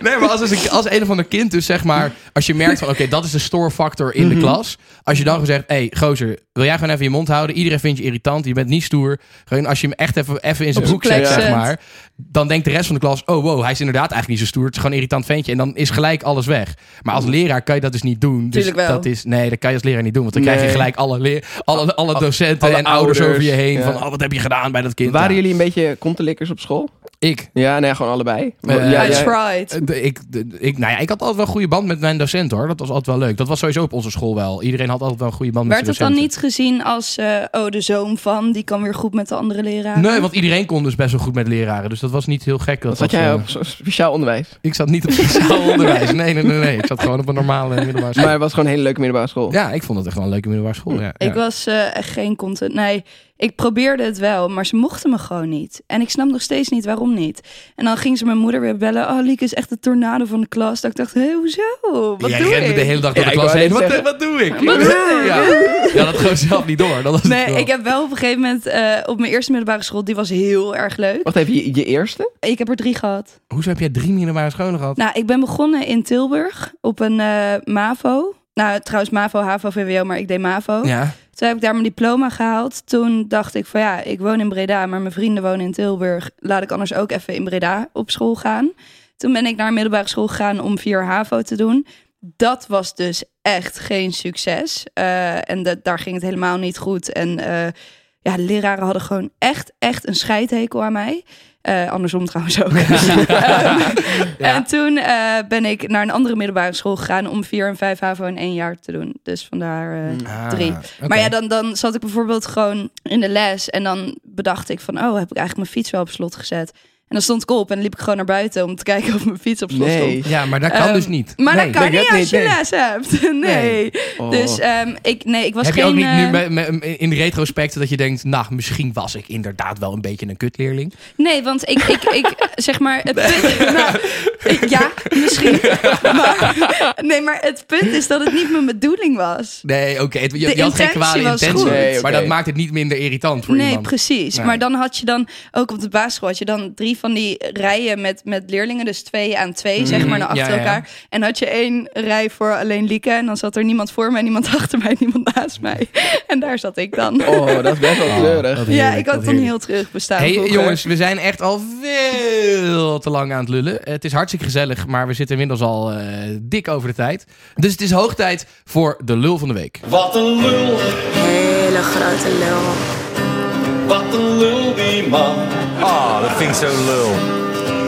[SPEAKER 1] Nee, maar als, als, een, als een of ander kind dus zeg maar... Als je merkt van, oké, dat is de stoorfactor in de klas. Als je dan gewoon zegt, hé, hey, gozer, wil jij gewoon even je mond houden? Iedereen vindt je irritant, je bent niet stoer. Gewoon als je hem echt even, even in zijn
[SPEAKER 3] Op
[SPEAKER 1] broek zet,
[SPEAKER 3] zijn plek
[SPEAKER 1] zeg
[SPEAKER 3] zet.
[SPEAKER 1] maar. Dan denkt de rest van de klas, oh wow, hij is inderdaad eigenlijk niet zo stoer. Het is gewoon een irritant ventje. En dan is gelijk alles weg. Maar als leraar kan je dat dus niet doen. Dus
[SPEAKER 3] Tuurlijk wel.
[SPEAKER 1] Dat is, nee, dat kan je als leraar niet doen. Want dan krijg
[SPEAKER 2] Nee.
[SPEAKER 1] je gelijk alle, leer- alle, alle docenten
[SPEAKER 2] alle
[SPEAKER 1] en ouders,
[SPEAKER 2] ouders,
[SPEAKER 1] over je heen.
[SPEAKER 2] ja.
[SPEAKER 1] Van, oh, wat heb je gedaan bij dat kind?
[SPEAKER 2] Waren
[SPEAKER 1] Ja.
[SPEAKER 2] jullie een beetje kontelikkers op school?
[SPEAKER 1] Ik.
[SPEAKER 2] Ja, nee, gewoon allebei.
[SPEAKER 1] Eh,
[SPEAKER 2] ja,
[SPEAKER 3] I
[SPEAKER 2] jij-
[SPEAKER 3] tried.
[SPEAKER 1] De- ik, de- ik, nou ja, ik had altijd wel een goede band met mijn docent hoor. Dat was altijd wel leuk. Dat was sowieso op onze school wel. Iedereen had altijd wel een goede band
[SPEAKER 3] Werd
[SPEAKER 1] met
[SPEAKER 3] het
[SPEAKER 1] zijn
[SPEAKER 3] dan
[SPEAKER 1] docenten.
[SPEAKER 3] niet gezien als, eh, oh, de zoon van, die kan weer goed met de andere leraren?
[SPEAKER 1] Nee, want iedereen kon dus best wel goed met leraren. Dus dat was niet heel gek.
[SPEAKER 2] Wat
[SPEAKER 1] Dat
[SPEAKER 2] zat
[SPEAKER 1] dat,
[SPEAKER 2] jij
[SPEAKER 1] eh,
[SPEAKER 2] op zo- speciaal onderwijs?
[SPEAKER 1] Ik zat niet op speciaal onderwijs. Nee, nee, nee, nee. Ik zat gewoon op een normale middelbare school.
[SPEAKER 2] Maar het was gewoon een hele leuke middelbare school.
[SPEAKER 1] ja, ik vond het echt wel een leuke middelbare school. Ja,
[SPEAKER 3] Ik
[SPEAKER 1] ja.
[SPEAKER 3] was eh, echt geen content. Nee, ik probeerde het wel, maar ze mochten me gewoon niet. En ik snap nog steeds niet waarom niet. En dan ging ze mijn moeder weer bellen. Oh, Lieke is echt de tornado van de klas. Dat ik dacht, hé, hoezo? Wat
[SPEAKER 1] Jij
[SPEAKER 3] doe
[SPEAKER 1] rende
[SPEAKER 3] ik?
[SPEAKER 1] de hele dag door
[SPEAKER 2] Ja,
[SPEAKER 1] de
[SPEAKER 2] ik
[SPEAKER 1] klas
[SPEAKER 2] wou
[SPEAKER 1] heen.
[SPEAKER 2] net
[SPEAKER 1] Wat,
[SPEAKER 2] zeggen.
[SPEAKER 1] wat doe ik?
[SPEAKER 3] Wat doe ik?
[SPEAKER 1] Ja. ja, dat gewoon zelf niet door. Dat was het
[SPEAKER 3] Nee,
[SPEAKER 1] wel.
[SPEAKER 3] ik heb wel op een gegeven moment eh, op mijn eerste middelbare school, die was heel erg leuk.
[SPEAKER 2] Wacht even, je, je eerste?
[SPEAKER 3] Ik heb er drie gehad.
[SPEAKER 1] Hoezo heb jij drie middelbare scholen gehad?
[SPEAKER 3] Nou, ik ben begonnen in Tilburg op een eh, MAVO. Nou, trouwens MAVO, HAVO, VWO, maar ik deed MAVO.
[SPEAKER 1] ja.
[SPEAKER 3] Toen heb ik daar mijn diploma gehaald. Toen dacht ik van ja, ik woon in Breda, maar mijn vrienden wonen in Tilburg. Laat ik anders ook even in Breda op school gaan. Toen ben ik naar een middelbare school gegaan om vier HAVO te doen. Dat was dus echt geen succes. Eh, en dat, daar ging het helemaal niet goed. En eh, ja, de leraren hadden gewoon echt, echt een scheidhekel aan mij. Eh, andersom trouwens ook. Ehm, En toen eh, ben ik naar een andere middelbare school gegaan om vier en vijf HAVO in één jaar te doen. Dus vandaar eh,
[SPEAKER 1] Ah,
[SPEAKER 3] drie.
[SPEAKER 1] oké.
[SPEAKER 3] Maar ja, dan, dan zat ik bijvoorbeeld gewoon in de les en dan bedacht ik van, oh, heb ik eigenlijk mijn fiets wel op slot gezet? En dan stond ik op en liep ik gewoon naar buiten om te kijken of mijn fiets op slot stond.
[SPEAKER 1] Ja, maar dat kan
[SPEAKER 3] Ehm,
[SPEAKER 1] dus niet.
[SPEAKER 3] Maar
[SPEAKER 1] Nee.
[SPEAKER 3] dat kan
[SPEAKER 2] Nee,
[SPEAKER 3] niet als
[SPEAKER 2] dat niet,
[SPEAKER 3] je
[SPEAKER 2] nee.
[SPEAKER 3] les hebt. Nee.
[SPEAKER 1] Nee.
[SPEAKER 2] Oh.
[SPEAKER 1] eh,
[SPEAKER 3] Dus ehm, ik, nee, ik was
[SPEAKER 1] Heb
[SPEAKER 3] geen...
[SPEAKER 1] je ook niet
[SPEAKER 3] eh,
[SPEAKER 1] nu me- me- in retrospect dat je denkt, nou, misschien was ik inderdaad wel een beetje een kutleerling?
[SPEAKER 3] Nee, want ik, ik, ik zeg maar. Het punt, nou, ik- ja, misschien. Maar, nee, maar het punt is dat het niet mijn bedoeling was.
[SPEAKER 1] Nee, oké. het- je,
[SPEAKER 3] De
[SPEAKER 1] je had geen kwade
[SPEAKER 3] intentie was
[SPEAKER 1] intentie.
[SPEAKER 3] goed.
[SPEAKER 2] Nee, oké.
[SPEAKER 1] Maar dat maakt het niet minder irritant voor
[SPEAKER 3] nee,
[SPEAKER 1] iemand.
[SPEAKER 3] precies.
[SPEAKER 1] Nee.
[SPEAKER 3] Maar dan had je dan ook op de basisschool had je dan drie van die rijen met, met leerlingen, dus twee aan twee, zeg maar, naar achter
[SPEAKER 1] Mm, ja, ja.
[SPEAKER 3] elkaar. En had je één rij voor alleen Lieke en dan zat er niemand voor mij, niemand achter mij, niemand naast mij. En daar zat ik dan.
[SPEAKER 2] Oh, dat is best wel
[SPEAKER 1] Oh,
[SPEAKER 2] treurig.
[SPEAKER 1] dat
[SPEAKER 3] ja,
[SPEAKER 1] heerlijk,
[SPEAKER 3] ik had
[SPEAKER 1] dat
[SPEAKER 3] dan
[SPEAKER 1] heerlijk.
[SPEAKER 3] heel terug bestaan.
[SPEAKER 1] Hey
[SPEAKER 3] vroeger.
[SPEAKER 1] jongens, we zijn echt al veel te lang aan het lullen. Het is hartstikke gezellig, maar we zitten inmiddels al eh, dik over de tijd. Dus het is hoog tijd voor de lul van de week.
[SPEAKER 5] Wat een lul,
[SPEAKER 6] Hele grote lul.
[SPEAKER 5] wat een lul die man.
[SPEAKER 7] Ah, dat vind ik zo lul.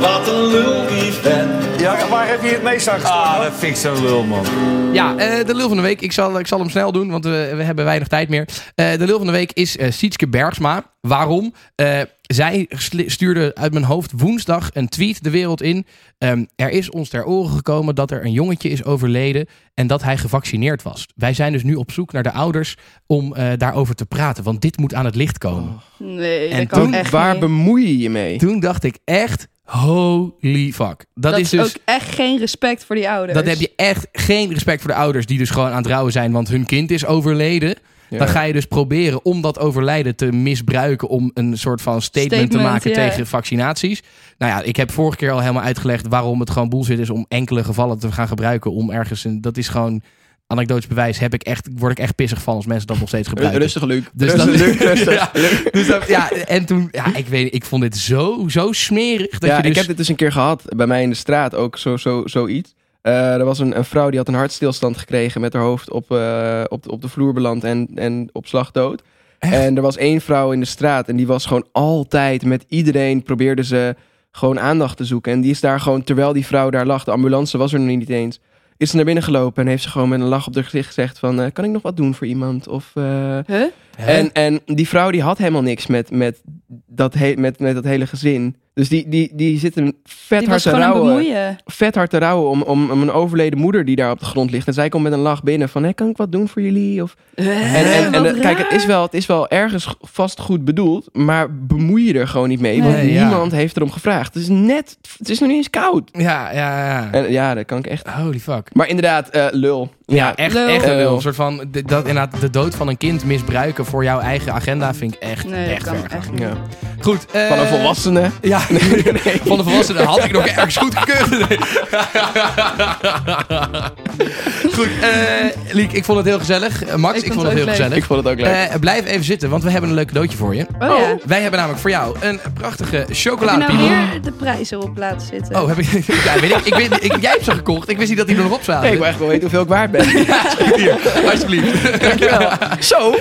[SPEAKER 5] Wat een lul die vent.
[SPEAKER 7] Ja, waar heb je het meest aan Ah, dat vind ik zo lul, man.
[SPEAKER 1] Ja, eh, de lul van de week. Ik zal, ik zal hem snel doen, want we, we hebben weinig tijd meer. Eh, de lul van de week is eh Sietske Bergsma. Waarom? Eh, zij sli- stuurde uit mijn hoofd woensdag een tweet de wereld in. Ehm, er is ons ter oren gekomen dat er een jongetje is overleden en dat hij gevaccineerd was. Wij zijn dus nu op zoek naar de ouders om eh, daarover te praten, want dit moet aan het licht komen.
[SPEAKER 3] Nee,
[SPEAKER 1] En
[SPEAKER 3] dat kan
[SPEAKER 1] toen
[SPEAKER 3] echt
[SPEAKER 2] Waar
[SPEAKER 3] niet.
[SPEAKER 2] bemoei je je mee?
[SPEAKER 1] Toen dacht ik echt, holy fuck. Dat,
[SPEAKER 3] Dat
[SPEAKER 1] is dus...
[SPEAKER 3] ook echt geen respect voor die ouders.
[SPEAKER 1] Dat heb je echt geen respect voor de ouders die dus gewoon aan het rouwen zijn, want hun kind is overleden.
[SPEAKER 2] Ja.
[SPEAKER 1] Dan ga je dus proberen om dat overlijden te misbruiken om een soort van statement, te
[SPEAKER 3] Statement,
[SPEAKER 1] maken
[SPEAKER 3] ja.
[SPEAKER 1] tegen vaccinaties. Nou ja, ik heb vorige keer al helemaal uitgelegd waarom het gewoon bullshit is om enkele gevallen te gaan gebruiken om ergens een. Dat is gewoon anekdotisch bewijs. Heb ik echt, word ik echt pissig van als mensen dat nog steeds gebruiken.
[SPEAKER 2] Rustig, Luc.
[SPEAKER 1] Dus
[SPEAKER 2] rustig,
[SPEAKER 1] dat-
[SPEAKER 2] Luc, rustig.
[SPEAKER 1] Ja,
[SPEAKER 2] Luc.
[SPEAKER 1] Dus dat- ja, en toen, ja, ik weet, niet, ik vond dit zo, zo smerig dat
[SPEAKER 2] ja,
[SPEAKER 1] je dus.
[SPEAKER 2] ik heb dit dus een keer gehad bij mij in de straat, ook zo, zo, zoiets. Eh, er was een, een vrouw die had een hartstilstand gekregen met haar hoofd op, eh, op, de- op de vloer beland en, en op slag dood.
[SPEAKER 1] Echt?
[SPEAKER 2] En er was één vrouw in de straat en die was gewoon altijd met iedereen probeerde ze gewoon aandacht te zoeken. En die is daar gewoon, terwijl die vrouw daar lag, de ambulance was er nog niet eens, is ze naar binnen gelopen en heeft ze gewoon met een lach op haar gezicht gezegd van... eh, kan ik nog wat doen voor iemand? Of, eh,
[SPEAKER 3] Huh?
[SPEAKER 2] en, en die vrouw die had helemaal niks met, met, dat, he- met, met dat hele gezin. Dus die, die, die zit hem vet
[SPEAKER 3] Die was
[SPEAKER 2] hard te
[SPEAKER 3] gewoon aan het
[SPEAKER 2] rouwen
[SPEAKER 3] bemoeien.
[SPEAKER 2] vet hard te rouwen om, om, om een overleden moeder die daar op de grond ligt. En zij komt met een lach binnen van, hé, kan ik wat doen voor jullie? Of, en en, en
[SPEAKER 3] wat
[SPEAKER 2] eh, kijk, het is, wel, het is wel ergens g- vast goed bedoeld, maar bemoei je er gewoon niet mee. Want
[SPEAKER 1] Nee, ja.
[SPEAKER 2] niemand heeft erom gevraagd. Het is net, het is nog niet eens koud.
[SPEAKER 1] Ja, ja, ja.
[SPEAKER 2] En ja, dat kan ik echt.
[SPEAKER 1] Holy fuck.
[SPEAKER 2] Maar inderdaad, eh, lul.
[SPEAKER 1] Ja, echt,
[SPEAKER 3] Lul.
[SPEAKER 1] echt een lul.
[SPEAKER 2] Lul.
[SPEAKER 1] Een soort van, de- dat, inderdaad, de dood van een kind misbruiken voor jouw eigen agenda vind ik echt,
[SPEAKER 3] Nee, dat
[SPEAKER 1] echt
[SPEAKER 3] kan
[SPEAKER 1] ver gaan.
[SPEAKER 3] echt niet.
[SPEAKER 2] Ja.
[SPEAKER 1] Goed. eh,
[SPEAKER 2] Van een volwassene.
[SPEAKER 1] Ja, van de volwassenen had ik nog ergens goed gekund. Nee. Goed, eh Liek, ik vond het heel gezellig. Eh, Max, ik,
[SPEAKER 3] Ik vond
[SPEAKER 1] vond het heel
[SPEAKER 3] het ook leuk.
[SPEAKER 1] gezellig.
[SPEAKER 2] Ik vond het ook leuk.
[SPEAKER 1] Eh, blijf even zitten, want we hebben een leuk cadeautje voor je.
[SPEAKER 3] Oh, ja. Heb
[SPEAKER 1] Wij hebben namelijk voor jou een prachtige
[SPEAKER 3] je nou
[SPEAKER 1] chocoladepiemel.
[SPEAKER 3] weer de prijzen op laten zitten?
[SPEAKER 1] Oh, heb ik, ja, weet ik, ik, weet, ik- Jij hebt ze gekocht. Ik wist niet dat die er nog op zaten.
[SPEAKER 2] Hey, ik wil echt wel weten hoeveel ik waard ben.
[SPEAKER 1] Hier, alsjeblieft.
[SPEAKER 2] Zo,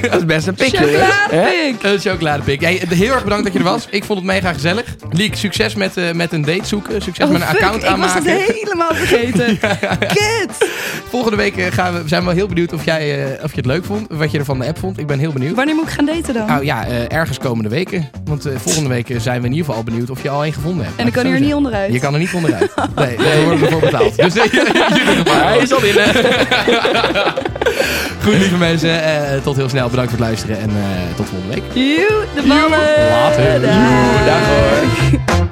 [SPEAKER 2] dat is best een pikje. Hè?
[SPEAKER 3] Chocoladepik!
[SPEAKER 1] Een chocoladepik. Hey, heel erg bedankt dat je er was. Ik vond het mega gezellig. Liek, succes met, eh, met een date zoeken. Succes
[SPEAKER 3] Oh,
[SPEAKER 1] met een
[SPEAKER 3] fuck,
[SPEAKER 1] account
[SPEAKER 3] ik was
[SPEAKER 1] aanmaken.
[SPEAKER 3] dat helemaal vergeten. Kut!
[SPEAKER 1] Volgende week eh, gaan we, zijn we wel heel benieuwd of, jij, eh, of je het leuk vond. Wat je ervan de app vond. Ik ben heel benieuwd.
[SPEAKER 3] Wanneer moet ik gaan daten dan?
[SPEAKER 1] Nou ja, eh, ergens komende weken. Want eh, volgende week eh, zijn we in ieder geval al benieuwd of je al één gevonden hebt.
[SPEAKER 3] en ik kan hier niet onderuit.
[SPEAKER 1] Je kan er niet onderuit. Nee, daar worden we voor betaald. Dus eh, jullie nog maar.
[SPEAKER 2] Hij is al binnen.
[SPEAKER 1] Goed, lieve mensen. eh, tot heel snel. Bedankt voor het luisteren. En eh, tot volgende week.
[SPEAKER 3] Joe, de ballen!
[SPEAKER 1] Later.
[SPEAKER 3] Daag.
[SPEAKER 2] Dag hoor.